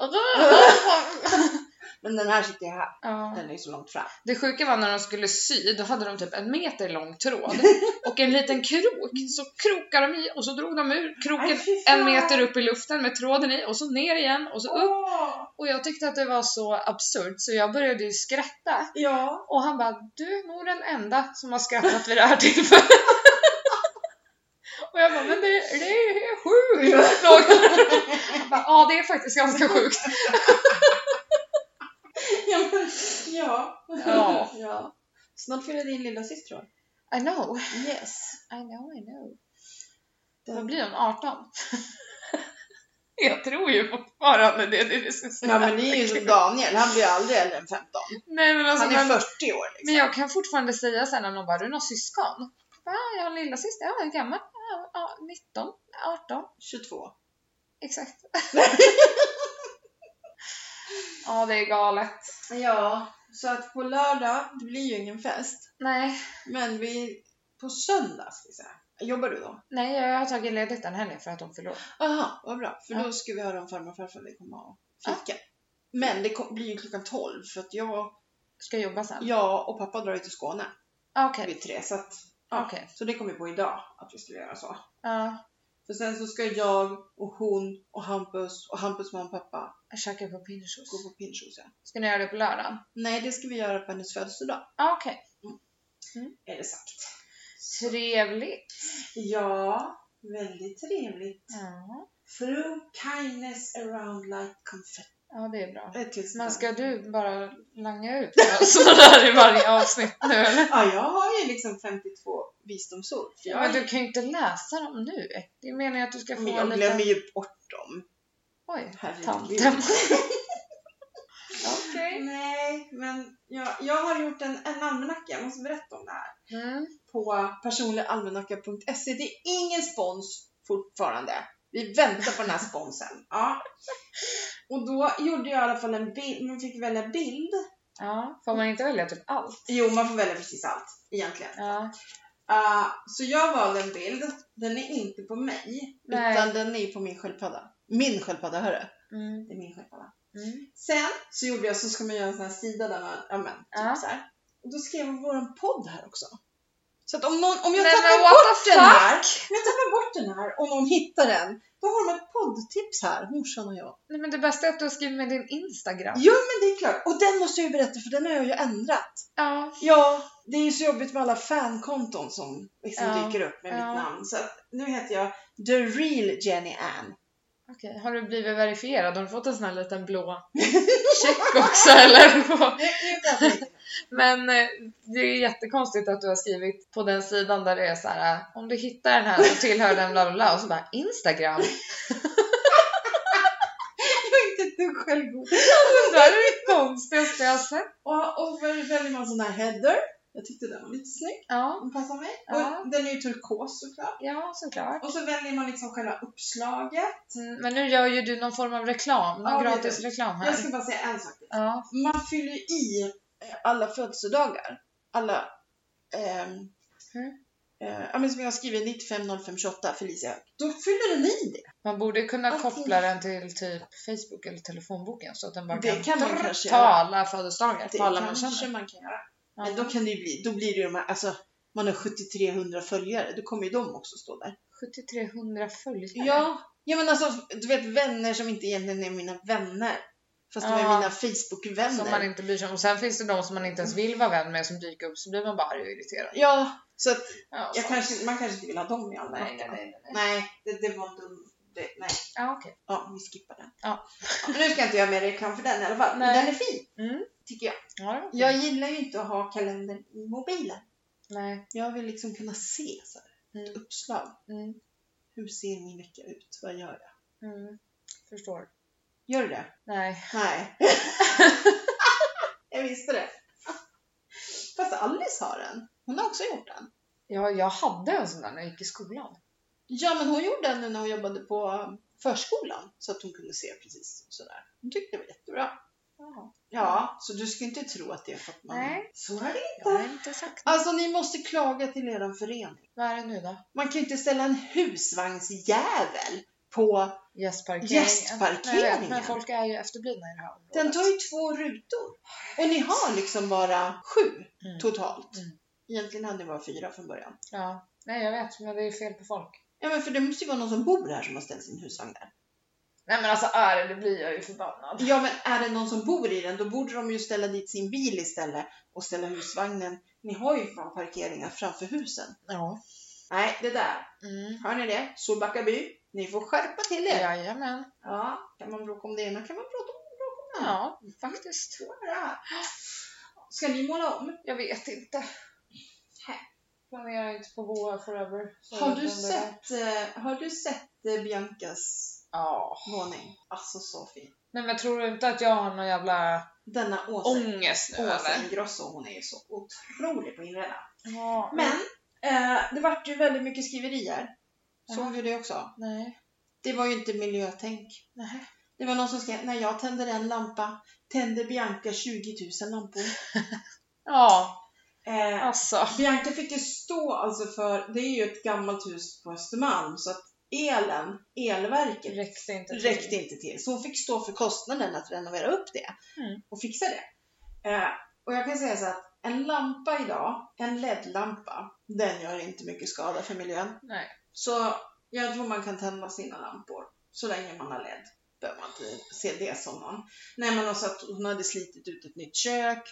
A: Men den här sitter ju här,
B: Ja.
A: den är ju så långt fram.
B: Det sjuka var när de skulle sy, då hade de typ en meter lång tråd och en liten krok. Så krokade de i och så drog de ur kroken en meter upp i luften med tråden i och så ner igen och så upp. Och jag tyckte att det var så absurt så jag började ju skratta.
A: Ja.
B: Och han bara, du är nog den enda som har skrattat vid det här tillfället. Och jag bara, men det, det är sjukt! Han bara, Ja, det är faktiskt ganska sjukt.
A: Ja, men, ja.
B: Ja.
A: ja. Snart fyller din lilla syster år.
B: I know,
A: Yes.
B: I know, I know. Vad
A: Den...
B: blir hon? 18? jag tror ju fortfarande det. det, är det som är så
A: Ja men det är ju
B: jävla
A: som
B: kul.
A: Daniel, han blir aldrig äldre än 15.
B: Nej men alltså,
A: Han är
B: men,
A: 40 år liksom.
B: men jag kan fortfarande säga sen när någon bara, "Har du någon syskon? Ja, jag har en lilla syster. Ja, hur gammal? Ja, ja, 19, 18,
A: 22.
B: exakt. ja, det är galet.
A: Ja, så att på lördag, det blir ju ingen fest.
B: Nej,
A: Men vi, på söndag ska vi säga. Jobbar du då?
B: nej, jag har tagit ledigt den helgen för att hon förlorade.
A: Aha, vad bra. För
B: Ja.
A: då ska vi höra om farmor och farfar vill komma och fika. Men det kom, blir ju klockan 12 för att jag,
B: Ska jobba sen?
A: jag och pappa drar ju till Skåne
B: Ja. Okej,
A: vid tre. Så, att, ja.
B: okej.
A: så det kom vi på idag att vi skulle göra så.
B: Ja,
A: För sen så ska jag och hon och Hampus och Hampus mamma och pappa
B: jag käkar på pinchos.
A: gå på pinchos. Ja.
B: Ska ni göra det på lördagen?
A: Nej, det ska vi göra på hennes födelsedag.
B: Ja, Okej,
A: Är det sagt.
B: trevligt.
A: Ja, väldigt trevligt.
B: Ja.
A: Through kindness around like confetti.
B: ja, det är bra.
A: Ett till
B: Men
A: sånt där.
B: ska du bara langa ut sådana där i varje avsnitt nu eller?
A: Ja, jag har ju liksom 52 visdomsord. För jag,
B: Men du kan ju inte läsa dem nu. Det är meningen att du ska få
A: men jag
B: en
A: glömmer
B: liten...
A: ju bort dem.
B: Oj,
A: Herregud.
B: tanten. Okej.
A: Nej, men jag, jag har gjort en, en almanacka, jag måste berätta om det här.
B: Mm.
A: På personligalmanacka.se. Det är ingen spons fortfarande. Vi väntar på den här sponsen. Ja. Och då gjorde jag i alla fall en bild, man fick välja bild.
B: Ja, får man inte välja typ allt?
A: Jo, man får välja precis allt egentligen.
B: Ja.
A: Ah, så jag valde en bild. Den är inte på mig,
B: Nej.
A: utan den är på min sköldpadda. Min sköldpadda, hörru.
B: Mm.
A: Det är min sköldpadda.
B: Mm.
A: Sen så gjorde jag, så ska man göra en sån här sida där man, ja men, typ
B: Ja.
A: så här. Och då skrev jag våran podd här också. Så att om, någon, om jag
B: Nej, men
A: tappar
B: what
A: bort
B: the
A: den
B: fuck?
A: här, om jag tappar bort den här och någon hittar den, då har de ett poddtips här, morsan och jag.
B: Nej, men det bästa är att du har skrivit med din Instagram.
A: Jo men det är klart, och den måste jag ju berätta för den har jag ju ändrat.
B: Ja.
A: Ja, det är ju så jobbigt med alla fankonton som liksom
B: Ja,
A: dyker upp med
B: ja.
A: mitt namn. Så att nu heter jag The Real Jenny Ann.
B: Okej, har du blivit verifierad? Har du fått en sån här liten blå check också eller? vad? Men eh, det är jättekonstigt att du har skrivit på den sidan där det är så här eh, om du hittar den här så tillhör den bla bla bla och så bara Instagram.
A: Jag är inte ett dugg självgod.
B: Det där är det konstigaste jag har sett.
A: Och, och väl- väljer man sån här header. Jag tyckte den var lite snygg.
B: Ja,
A: Den passar mig.
B: Ja.
A: Och den är ju turkos såklart.
B: ja såklart.
A: Och så väljer man liksom själva uppslaget.
B: Mm, Men nu gör ju du någon form av reklam, någon
A: Ja, det är
B: gratis reklam här.
A: Jag ska bara säga en sak.
B: Ja,
A: Man fyller ju i eh, alla födelsedagar. Alla... ehm,
B: Mm.
A: eh, ja, men som jag har skrivit 950528 Felicia. Då fyller den i det.
B: man borde kunna
A: Allting.
B: koppla den till typ Facebook eller telefonboken så att den bara
A: Det kan man
B: drr-
A: kanske
B: ta
A: göra.
B: alla födelsedagar,
A: Det
B: på alla man
A: kanske
B: känner.
A: man kan göra.
B: Ja.
A: Men då kan det ju bli, då blir det ju de här, alltså man har 7300 följare, då kommer ju de också stå där.
B: 7300 följare.
A: Ja, ja men alltså du vet vänner som inte egentligen är mina vänner. Fast de
B: Ja.
A: är mina
B: Som man
A: Facebook-vänner.
B: inte bryr sig om. Och sen finns det de som man inte ens vill vara vän med som dyker upp så blir man bara arg och irriterad.
A: Ja, så att
B: Ja,
A: jag
B: fan.
A: kanske, man kanske inte vill ha dem i alla
B: Nej, nej,
A: fall.
B: nej. nej.
A: Nej, det, det var en dum... Det, nej,
B: Ja, okej.
A: ja, vi skippar den.
B: Ja.
A: Men nu ska jag inte göra mer reklam för den i alla fall.
B: Nej.
A: Men den är fin,
B: Mm.
A: tycker jag.
B: Ja, det var fint.
A: Jag gillar ju inte att ha kalendern i mobilen.
B: Nej.
A: Jag vill liksom kunna se så här, ett
B: Mm.
A: uppslag.
B: Mm.
A: Hur ser min vecka ut? Vad gör jag?
B: Mm. Förstår.
A: Gör du det?
B: Nej.
A: Nej. jag visste det. Fast Alice har en. Hon har också gjort den.
B: Ja, jag hade en sån där när jag gick i skolan.
A: Ja, men hon gjorde den nu när hon jobbade på förskolan så att hon kunde se precis sådär. Hon tyckte det var jättebra.
B: Jaha.
A: Ja, så du ska inte tro att det är för att man...
B: Nej.
A: Så är det
B: Jag har
A: inte.
B: inte sagt.
A: Alltså, ni måste klaga till er förening.
B: Vad är det nu då?
A: Man kan ju inte ställa en husvagnsjävel på...
B: Gästparkeringen.
A: Gästparkeringen.
B: Nej, jag vet, Men folk är ju efterblivna i det här området.
A: Den tar ju två rutor. Och ni har liksom bara sju
B: Mm.
A: totalt.
B: Mm.
A: Egentligen hade det varit fyra från början.
B: Ja. Nej, jag vet. Men det är fel på folk.
A: Ja men för det måste ju vara någon som bor här som har ställt sin husvagn där.
B: Nej men alltså är det, det blir jag ju förbannad.
A: Ja men är det någon som bor i den då borde de ju ställa dit sin bil istället och ställa husvagnen. Ni har ju fan parkeringar framför husen.
B: Ja.
A: Nej, det där.
B: Mm.
A: Hör ni det? Solbacka by. Ni får skärpa till er. Ja.
B: Jajamän.
A: kan man bråka om det ena kan man prata om
B: Ja, faktiskt.
A: det andra. Ska ni måla om?
B: Jag vet inte. Planerar inte på Boa forever. Så jag
A: Har
B: vet
A: du,
B: inte om det där.
A: sett, eh, har du sett eh, Biancas
B: Ja.
A: våning? Alltså så fin.
B: Nej men tror du inte att jag har någon jävla
A: Denna Åsa,
B: ångest nu
A: Åsa
B: eller?
A: Ingrosso, hon är ju så otrolig på att inreda.
B: Ja,
A: Men eh, det vart ju väldigt mycket skriverier.
B: Ja.
A: Såg du det också?
B: Nej.
A: Det var ju inte miljötänk.
B: Nej.
A: Det var någon som skrev, när jag tänder en lampa tänder Bianca 20 000 lampor.
B: Ja,
A: Eh,
B: alltså.
A: Bianca fick ju stå alltså för, det är ju ett gammalt hus på Östermalm så att elen, elverket,
B: Räckte inte till.
A: räckte inte till. Så hon fick stå för kostnaden att renovera upp det
B: Mm.
A: och fixa det. Eh, och jag kan säga så att en lampa idag, en LED-lampa, den gör inte mycket skada för miljön.
B: Nej.
A: Så jag tror man kan tända sina lampor så länge man har LED. Behöver man inte se det som någon. Nej men också att hon hade slitit ut ett nytt kök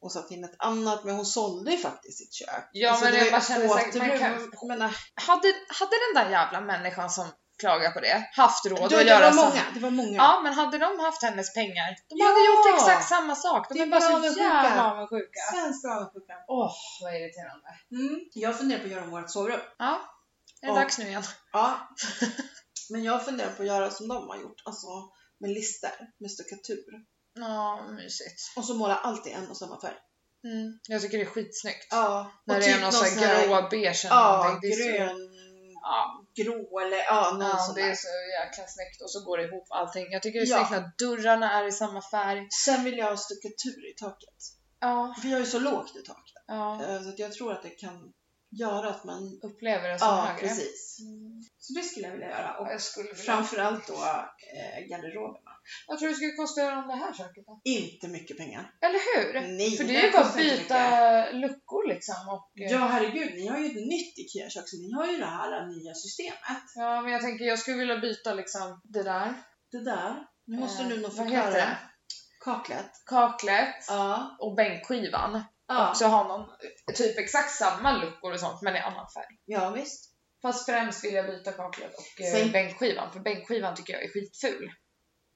A: och satt in ett annat, men hon sålde ju faktiskt sitt kök. Alltså,
B: Ja, men
A: det
B: jag
A: var
B: bara
A: ju
B: känner säkert- man
A: återbruk.
B: kan-
A: Jag menar,
B: Hade, hade den där jävla människan som klagar på det haft råd
A: du,
B: att
A: det,
B: göra
A: var
B: så?
A: många, det var många.
B: Ja men hade de haft hennes pengar, de
A: Ja!
B: hade gjort exakt samma sak. De
A: Det
B: är
A: är
B: bara
A: bra
B: så
A: avundsjuka.
B: jävla avundsjuka.
A: Svensk avundsjuka.
B: Åh, vad irriterande.
A: Mm. Jag funderar på att göra om vårt sovrum.
B: Ja, det är
A: Ja.
B: dags nu igen.
A: Ja. men jag funderar på att göra som de har gjort, alltså med lister, med stuckatur.
B: Ja, mysigt.
A: Och så måla allt i en och samma färg.
B: Mm. Jag tycker det är skitsnyggt.
A: Ja.
B: När
A: och typ
B: det är någon sån här grå beige eller
A: Ja,
B: någonting. Det är så-
A: grön,
B: Ja.
A: grå eller ja, någon
B: Ja,
A: sån
B: det är
A: där.
B: så jäkla snyggt och så går det ihop allting. Jag tycker det är
A: Ja.
B: snyggt när dörrarna är i samma färg.
A: Sen vill jag ha stuckatur i taket.
B: Ja,
A: Vi har ju så lågt i taket.
B: ja.
A: eh, Så att jag tror att det kan göra att man...
B: Upplever det som
A: Ja,
B: högre.
A: precis.
B: Mm.
A: Så det skulle jag vilja göra. Och
B: Jag skulle vilja.
A: framförallt då eh, garderoberna.
B: Vad tror du skulle kosta att göra om det här köket då?
A: Inte mycket pengar.
B: Eller hur?
A: Nej,
B: För det
A: det
B: är ju bara att
A: kostar inte
B: byta luckor liksom och... eh,
A: Ja herregud, ni har ju ett nytt IKEA-kök så ni har ju det här nya systemet.
B: ja, men jag tänker jag skulle vilja byta liksom det där.
A: Det där. Nu måste
B: Eh,
A: du nog
B: vad
A: förklara.
B: heter det?
A: Kaklet.
B: Kaklet
A: Ja.
B: och bänkskivan.
A: Ja.
B: Också ha någon, typ exakt samma luckor och sånt men i annan färg.
A: ja visst.
B: Fast främst vill jag byta kaklet och eh,
A: Säg-
B: bänkskivan för bänkskivan tycker jag är skitful.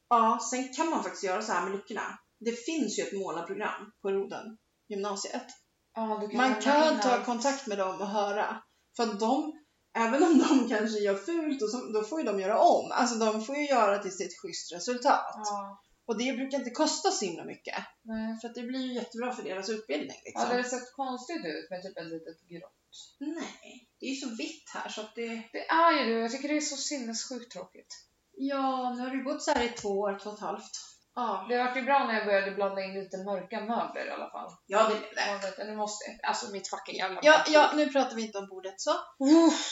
A: Ja, sen kan man faktiskt göra så här med luckorna. Det finns ju ett målarprogram på Roden, gymnasiet.
B: Ja, du
A: Man
B: lämna in
A: kan ta
B: allt.
A: kontakt med dem och höra. För att de, även om de kanske gör fult, och så, då får ju de göra om. Alltså de får ju göra till sitt schysst resultat.
B: Ja,
A: Och det brukar inte kosta så himla mycket.
B: nej.
A: För att det blir ju jättebra för deras utbildning. Liksom.
B: Hade det sett konstigt ut med typ ett litet grått?
A: Nej, det är ju så vitt här så att det...
B: Det är ju det jag tycker det är så sinnessjukt tråkigt.
A: Ja, nu har det gått så här i två år, två och ett halvt. Ja,
B: Det vart ju bra när jag började blanda in lite mörka möbler i alla fall.
A: ja det blev det.
B: Man vet, Nu måste, alltså mitt fucking jävla
A: Ja, ja, nu pratar vi inte om bordet så.
B: Uff,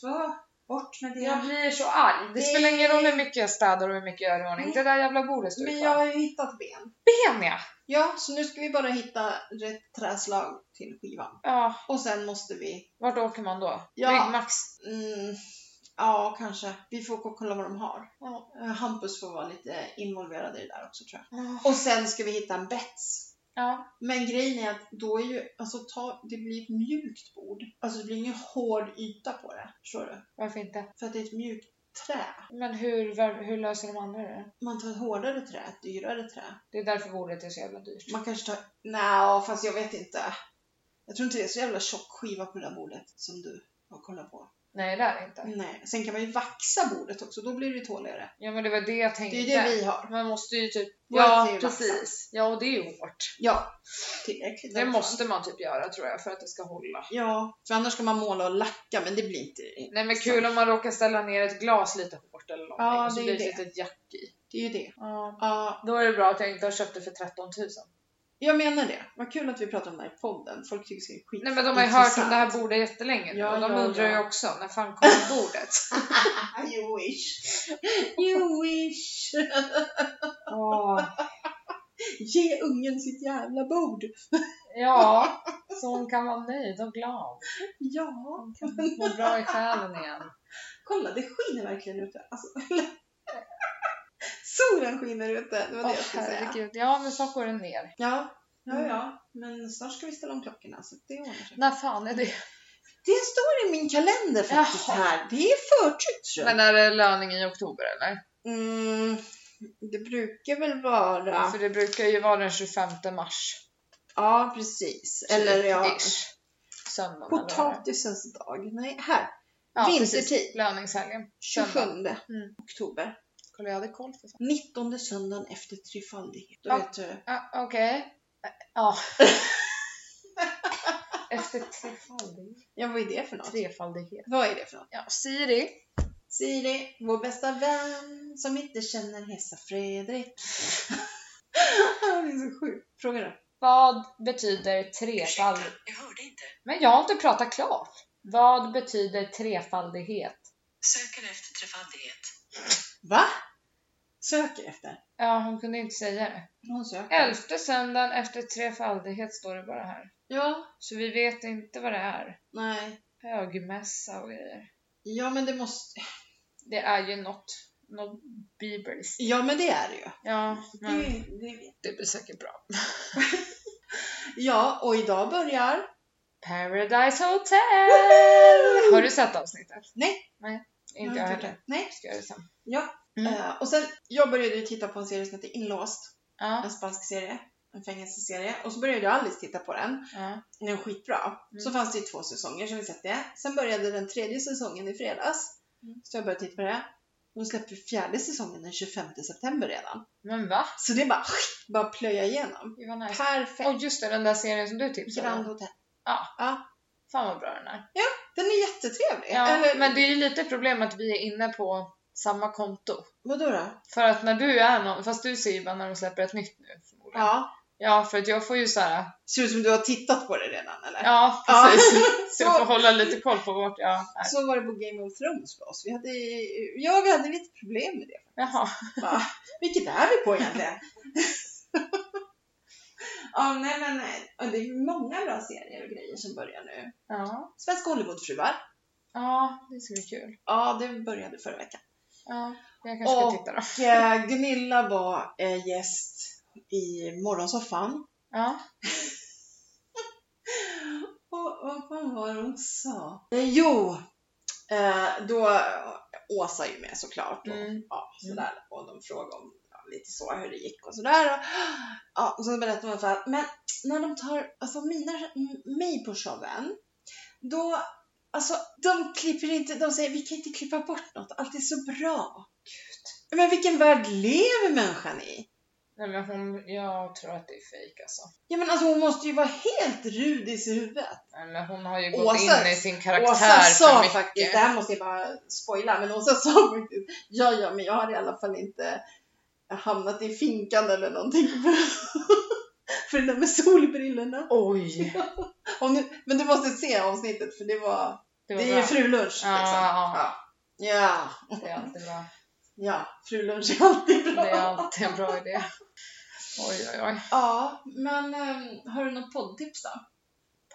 A: Så, bort med det.
B: Jag blir så arg. Det
A: Det-
B: spelar ingen roll hur mycket jag städar och hur mycket jag gör i ordning. Det där jävla bordet står ju
A: Men
B: kvar.
A: jag har ju hittat ben.
B: Ben ja!
A: Ja, så nu ska vi bara hitta rätt träslag till skivan.
B: Ja,
A: Och sen måste vi...
B: vart åker man då?
A: Ja.
B: Byggmax?
A: Mm, ja, kanske. Vi får gå och kolla vad de har.
B: Ja.
A: Eh, Hampus får vara lite involverad i det där också tror jag. Och sen ska vi hitta en bets.
B: Ja.
A: Men grejen är att då är ju, alltså ta, det blir ett mjukt bord. Alltså det blir ingen hård yta på det, förstår du?
B: Varför inte?
A: För att det är ett mjukt trä.
B: Men hur, var- hur löser de andra det?
A: Man tar ett hårdare trä, ett dyrare trä.
B: Det är därför bordet är så jävla dyrt.
A: Man kanske tar, nej, fast jag vet inte. Jag tror inte det är så jävla tjock skiva på det där bordet som du har kollat på.
B: Nej, det är det inte.
A: Nej, sen kan man ju vaxa bordet också, då blir det ju tåligare.
B: Ja, men det var det jag tänkte.
A: Det är ju det vi har.
B: Man måste ju typ...
A: Vårt
B: Ja,
A: är ju
B: precis. Ja, och det är ju hårt.
A: Ja, tillräckligt. i
B: Det
A: alla fall.
B: måste man typ göra tror jag för att det ska hålla.
A: Ja, för annars ska man måla och lacka, men det blir inte...
B: Nej men kul om man råkar ställa ner ett glas lite hårt eller någonting
A: Ja,
B: och så
A: det är
B: blir
A: ju
B: det ett
A: det.
B: litet jack i.
A: Det är ju det.
B: Ja.
A: Ja,
B: Då är det bra att jag inte har köpt det för 13 000.
A: Jag menar det. Vad kul att vi pratar om det här i podden. Folk tycker det är skit.
B: Nej men de har ju hört om det här bordet jättelänge nu
A: Ja,
B: och de
A: ja,
B: undrar
A: ja.
B: ju också när fan kommer bordet?
A: bordet. You wish. You wish. Ge ungen sitt jävla bord.
B: Ja, så hon kan vara nöjd och glad.
A: Ja.
B: Hon kan må bra i själen igen.
A: Kolla, det skiner verkligen ute. Alltså, Solen skiner ute. Det var det
B: Åh
A: jag skulle säga.
B: herregud. Ja men snart går den ner.
A: Ja. Ja, ja. Men snart ska vi ställa om klockorna så det ordnar sig.
B: När fan är det?
A: Det står i min kalender faktiskt
B: Jaha.
A: här. Det är förtryckt tror jag.
B: Men är det löning i oktober eller?
A: Mm, det brukar väl vara...
B: För det brukar ju vara den 25 mars.
A: Ja, precis. Eller ja.
B: Typ, Ish. Söndagen eller vad det är.
A: Potatisens dag. Nej, här.
B: Ja,
A: Vintertid.
B: precis. Löningshelgen.
A: 27
B: Söndag. Mm.
A: oktober.
B: Kolla, jag hade koll för fan.
A: 19 söndagen efter trefaldighet. Då
B: Ja.
A: vet du.
B: Ah, Okej. Eh, Ja. Efter trefaldighet.
A: Ja, vad är det för något?
B: Trefaldighet.
A: Vad är det för något?
B: Ja, Siri.
A: Siri, vår bästa vän som inte känner hesa Fredrik. Han är så sjuk. Fråga då.
B: Vad betyder trefaldighet?
C: Jag hörde inte.
B: Men jag har inte pratat klart. Vad betyder trefaldighet?
C: Söker efter trefaldighet.
A: Va? Söker efter.
B: Ja, hon kunde inte säga det.
A: Hon söker.
B: Elfte söndagen efter trefaldighet står det bara här.
A: Ja.
B: Så vi vet inte vad det är.
A: Nej.
B: Högmässa och grejer.
A: Ja, men det måste...
B: Det är ju något, något bibliskt.
A: Ja, men det är det ju.
B: Ja, men
A: Det, det...
B: det blir säkert bra.
A: Ja, och idag börjar...
B: Paradise Hotel!
A: Woho!
B: Har du sett avsnittet?
A: Nej.
B: Nej, inte
A: Ja,
B: jag
A: tycker
B: heller.
A: Nej.
B: Ska jag göra det sen. Mm.
A: Eh, och sen, jag började ju titta på en serie som heter Inlåst.
B: Ja,
A: en spansk serie, en fängelseserie. Och så började Alice titta på den.
B: ja.
A: Den är skitbra.
B: Mm.
A: Så fanns det ju två säsonger som vi sett det. Sen började den tredje säsongen i fredags.
B: Mm.
A: Så jag började titta på det. De släpper fjärde säsongen den 25 september redan.
B: Men va?
A: Så det är bara, bara plöja igenom.
B: Gud vad nice.
A: Perfekt.
B: Och just det, den där serien som du tipsade
A: Grand
B: om.
A: Hotel.
B: Fan vad bra den är.
A: Den är jättetrevlig.
B: Ja,
A: Eller
B: men det är ju lite problem att vi är inne på samma konto.
A: vadå då?
B: För att när du är någon, fast du ser ju bara när de släpper ett nytt nu förmodligen.
A: Ja.
B: Ja, för att jag får ju så här.
A: Ser ut som du har tittat på det redan eller?
B: Ja,
A: Ja.
B: precis. Så jag
A: Så-
B: får hålla lite koll på vart jag är.
A: Så var det på Game of Thrones för oss. Vi hade, ja, vi hade lite problem med det.
B: Jaha.
A: Bara, vilket är vi på egentligen? ja, nej men eh, det är många bra serier och grejer som börjar nu.
B: Ja.
A: Svenska Hollywoodfruar.
B: ja, det ska bli kul.
A: Ja, det började förra veckan.
B: Ja, jag kanske ska
A: Och-
B: titta då.
A: Och eh, Gunilla var eh, gäst i Morgonsoffan.
B: Ja.
A: Och vad fan var det hon sa? Eh, Jo, eh, då Åsa är ju med såklart. Och,
B: Mm.
A: ja, sådär. Och de frågade om ja, lite så hur det gick och sådär. Och, ja, och så berättade hon så här, men när de tar alltså, mina, m- mig på showen, då, alltså de klipper inte, de säger vi kan inte klippa bort något, allt är så bra. Gud. Men vilken värld lever människan i?
B: Nej men hon, jag tror att det är fejk alltså.
A: Ja men alltså hon måste ju vara helt rud i sitt huvud.
B: Nej, men hon har ju gått
A: Åsa-
B: in i sin karaktär
A: Åsa
B: för
A: sa
B: mycket.
A: faktiskt, det här måste jag bara spoila, men Åsa sa faktiskt ja ja men jag har i alla fall inte hamnat i finkan eller någonting för, för det där med solbrillorna.
B: Oj!
A: Om du, men du måste se avsnittet för det var, det,
B: Det, var
A: är
B: bra.
A: ju frulunch
B: Ja,
A: liksom.
B: ja.
A: Ja,
B: det är alltid bra.
A: ja, frulunch är alltid bra.
B: Det är alltid en bra idé. Oj, oj, oj.
A: Ja, men ehm, har du något poddtips då?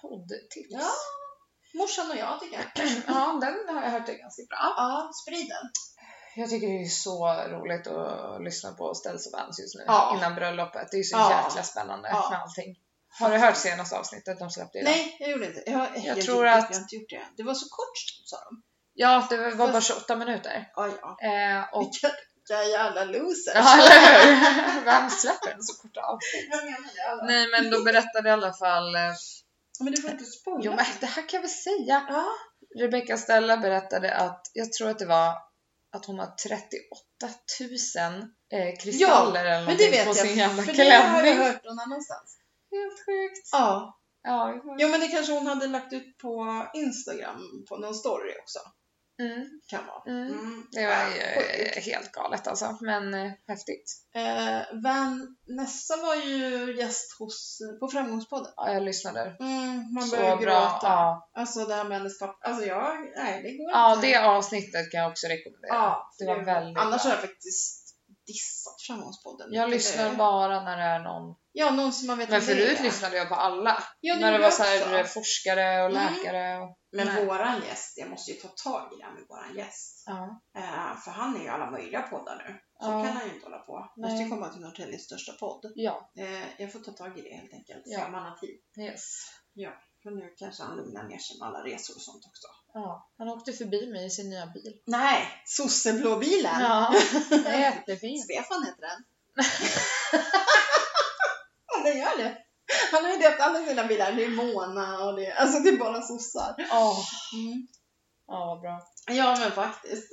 B: Poddtips.
A: Ja. Morsan och jag tycker jag.
B: ja, den har jag hört är ganska bra.
A: Ja, sprid den.
B: Jag tycker det är så roligt att lyssna på Ställs och Vans just nu
A: Ja.
B: innan bröllopet. Det är ju så
A: Ja.
B: jäkla spännande
A: Ja.
B: med allting. Har du hört senaste avsnittet de släppte idag?
A: Nej, jag gjorde inte. Jag, jag, har
B: tror
A: inte,
B: att-
A: jag har inte gjort det. Det var så kort sa de.
B: Ja, det var bara
A: Fast-
B: 28 minuter.
A: Ja, ja.
B: Eh, och...
A: Vilka, vilka jävla losers!
B: Ja, eller hur? Vem släpper en så kort av?
A: Jag menar det. alla.
B: Nej men då berättade i alla fall eh,
A: Men du får inte spoila.
B: Jo men det här kan vi säga.
A: Ja.
B: Rebecca Stella berättade att, jag tror att det var att hon har 38 000 eh, kristaller eller
A: men det
B: någonting
A: vet
B: på
A: jag.
B: sin jävla
A: för det har jag
B: klänning.
A: hört någon annanstans.
B: Helt sjukt.
A: Ja.
B: Ja, vi får-
A: Jo men det kanske hon hade lagt ut på Instagram på någon story också.
B: mm,
A: Kan vara.
B: mm.
A: Mm.
B: Det var ju
A: Sjukt.
B: eh, helt galet alltså, men eh, häftigt.
A: Eh, Van, Nessa var ju gäst hos, på Framgångspodden.
B: Ja, jag lyssnade.
A: Mm, man
B: Så
A: börjar
B: bra.
A: gråta.
B: Ja.
A: Alltså det här med hennes pappa. Alltså jag, nej det går
B: ja,
A: inte.
B: det avsnittet kan jag också rekommendera.
A: ja,
B: det var väldigt
A: Annars
B: bra.
A: har jag faktiskt dissat Framgångspodden.
B: Jag lyssnar
A: Det-
B: bara när det är någon.
A: Ja, någon som man vet
B: Men
A: vem det
B: förut
A: är.
B: lyssnade jag på alla.
A: Ja,
B: när det
A: gjorde
B: var
A: jag
B: så här, eh,
A: också.
B: forskare och
A: Mm.
B: läkare. Och,
A: Men
B: Nej.
A: våran gäst, jag måste ju ta tag i det här med våran gäst.
B: ja.
A: Eh, för han är ju i alla möjliga poddar nu. Så
B: Ja.
A: kan han ju inte hålla på. Måste
B: Nej.
A: ju komma till Norrtäljes största podd.
B: Ja,
A: Eh, jag får ta tag i det helt enkelt.
B: Ja.
A: Ja. man har tid.
B: yes.
A: För nu kanske han lugnar ner sig med alla resor och sånt också.
B: Ja, han åkte förbi mig i sin nya bil.
A: Nej, sosseblåbilen!
B: Ja, det är jättefint.
A: Stefan heter den. ja, den gör det. Han har ju döpt alla sina bilar. Det är Mona och det, alltså det är bara sossar.
B: Ja,
A: Mm.
B: ja, vad bra.
A: Ja, men faktiskt.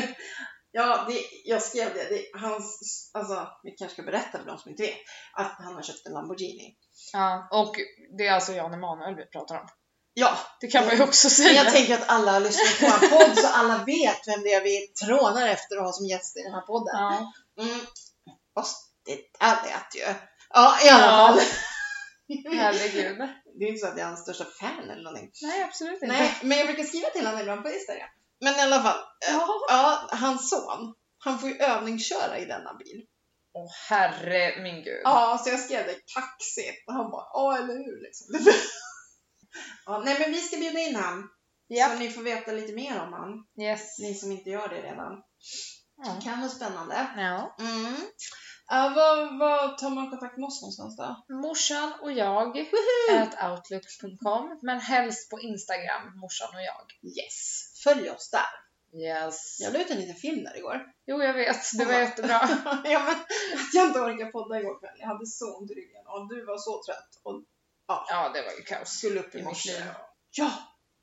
A: ja, det, jag skrev det. det hans, alltså, vi kanske ska berätta för de som inte vet att han har köpt en Lamborghini.
B: Ja, och det är alltså Jan Emanuel vi pratar om.
A: Ja,
B: Det kan man ju också
A: men
B: säga.
A: jag tänker att alla lyssnar på vår podd så alla vet vem det är vi trånar efter och har som gäst i den här podden.
B: ja.
A: Mm. Fast det där lät ju. Ja, i alla
B: Ja.
A: fall.
B: Herregud.
A: Det är inte så att jag är hans största fan eller någonting.
B: Nej, absolut inte.
A: Nej, men jag brukar skriva till honom ibland på Instagram. Men i alla fall,
B: Ja.
A: ja, hans son, han får ju övningsköra i denna bil.
B: Åh herre min gud.
A: Ja, så jag skrev det kaxigt och han bara ja eller hur liksom. ja, nej men vi ska bjuda in han.
B: Japp.
A: Så ni får veta lite mer om han.
B: Yes.
A: Ni som inte gör det redan.
B: Ja.
A: Det kan vara spännande.
B: Ja.
A: Mm. Uh, vad, vad tar man kontakt med oss någonstans då?
B: Morsan och jag, at outlook.com, men helst på Instagram, morsan och jag.
A: Yes, följ oss där.
B: Yes.
A: Jag la ut en liten film där igår.
B: Jo, jag vet. Det var jättebra.
A: ja, men, att jag inte orkade podda igår kväll. Jag hade så ont i ryggen och du var så trött och
B: Ja, det var ju kaos.
A: skulle upp i
B: I mitt
A: morse.
B: liv.
A: Ja,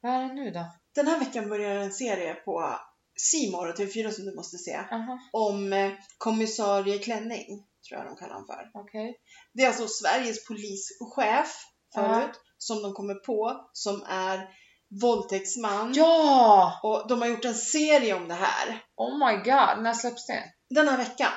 B: Vad är det nu då?
A: den här veckan börjar en serie på C More och TV4 som du måste se.
B: Aha,
A: om eh, kommissarie Klänning, tror jag de kallar honom för.
B: okej.
A: Det är alltså Sveriges polischef förut, som de kommer på, som är våldtäktsman.
B: Ja!
A: Och de har gjort en serie om det här
B: Oh my god, när släpps det?
A: den här veckan.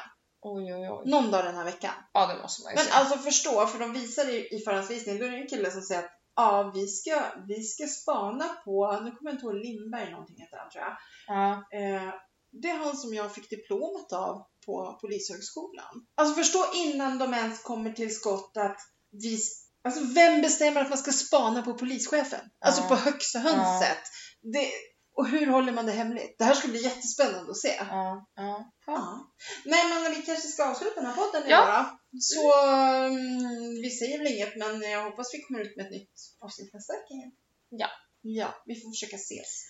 B: Oj, oj, oj.
A: Någon dag den här veckan.
B: Ja, det måste man ju
A: Men
B: säga.
A: alltså förstå, för de visar i, i förhandsvisningen, då är det en kille som säger att ja, vi ska, vi ska spana på, nu kommer jag inte ihåg, Lindberg någonting heter han tror jag.
B: Ja.
A: Eh, det är han som jag fick diplomet av på Polishögskolan. Alltså förstå innan de ens kommer till skott att vi, alltså vem bestämmer att man ska spana på polischefen? Alltså
B: Ja.
A: på högsta hönset. Det, och hur håller man det hemligt? Det här ska bli jättespännande att se.
B: Ja, ja.
A: Ja. Nej men vi kanske ska avsluta den här podden
B: Ja.
A: idag då. Så mm, vi säger väl inget men jag hoppas vi kommer ut med ett nytt avsnitt nästa vecka igen.
B: Ja.
A: Ja, vi får försöka ses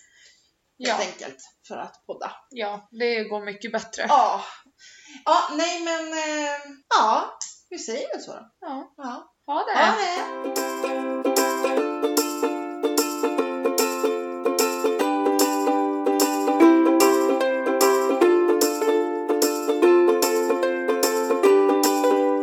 A: helt
B: Ja,
A: enkelt för att podda.
B: ja, det går mycket bättre.
A: Ja. Ja, nej men eh, ja, vi säger väl så då.
B: Ja.
A: Ja.
B: Ha det!
A: Ha det!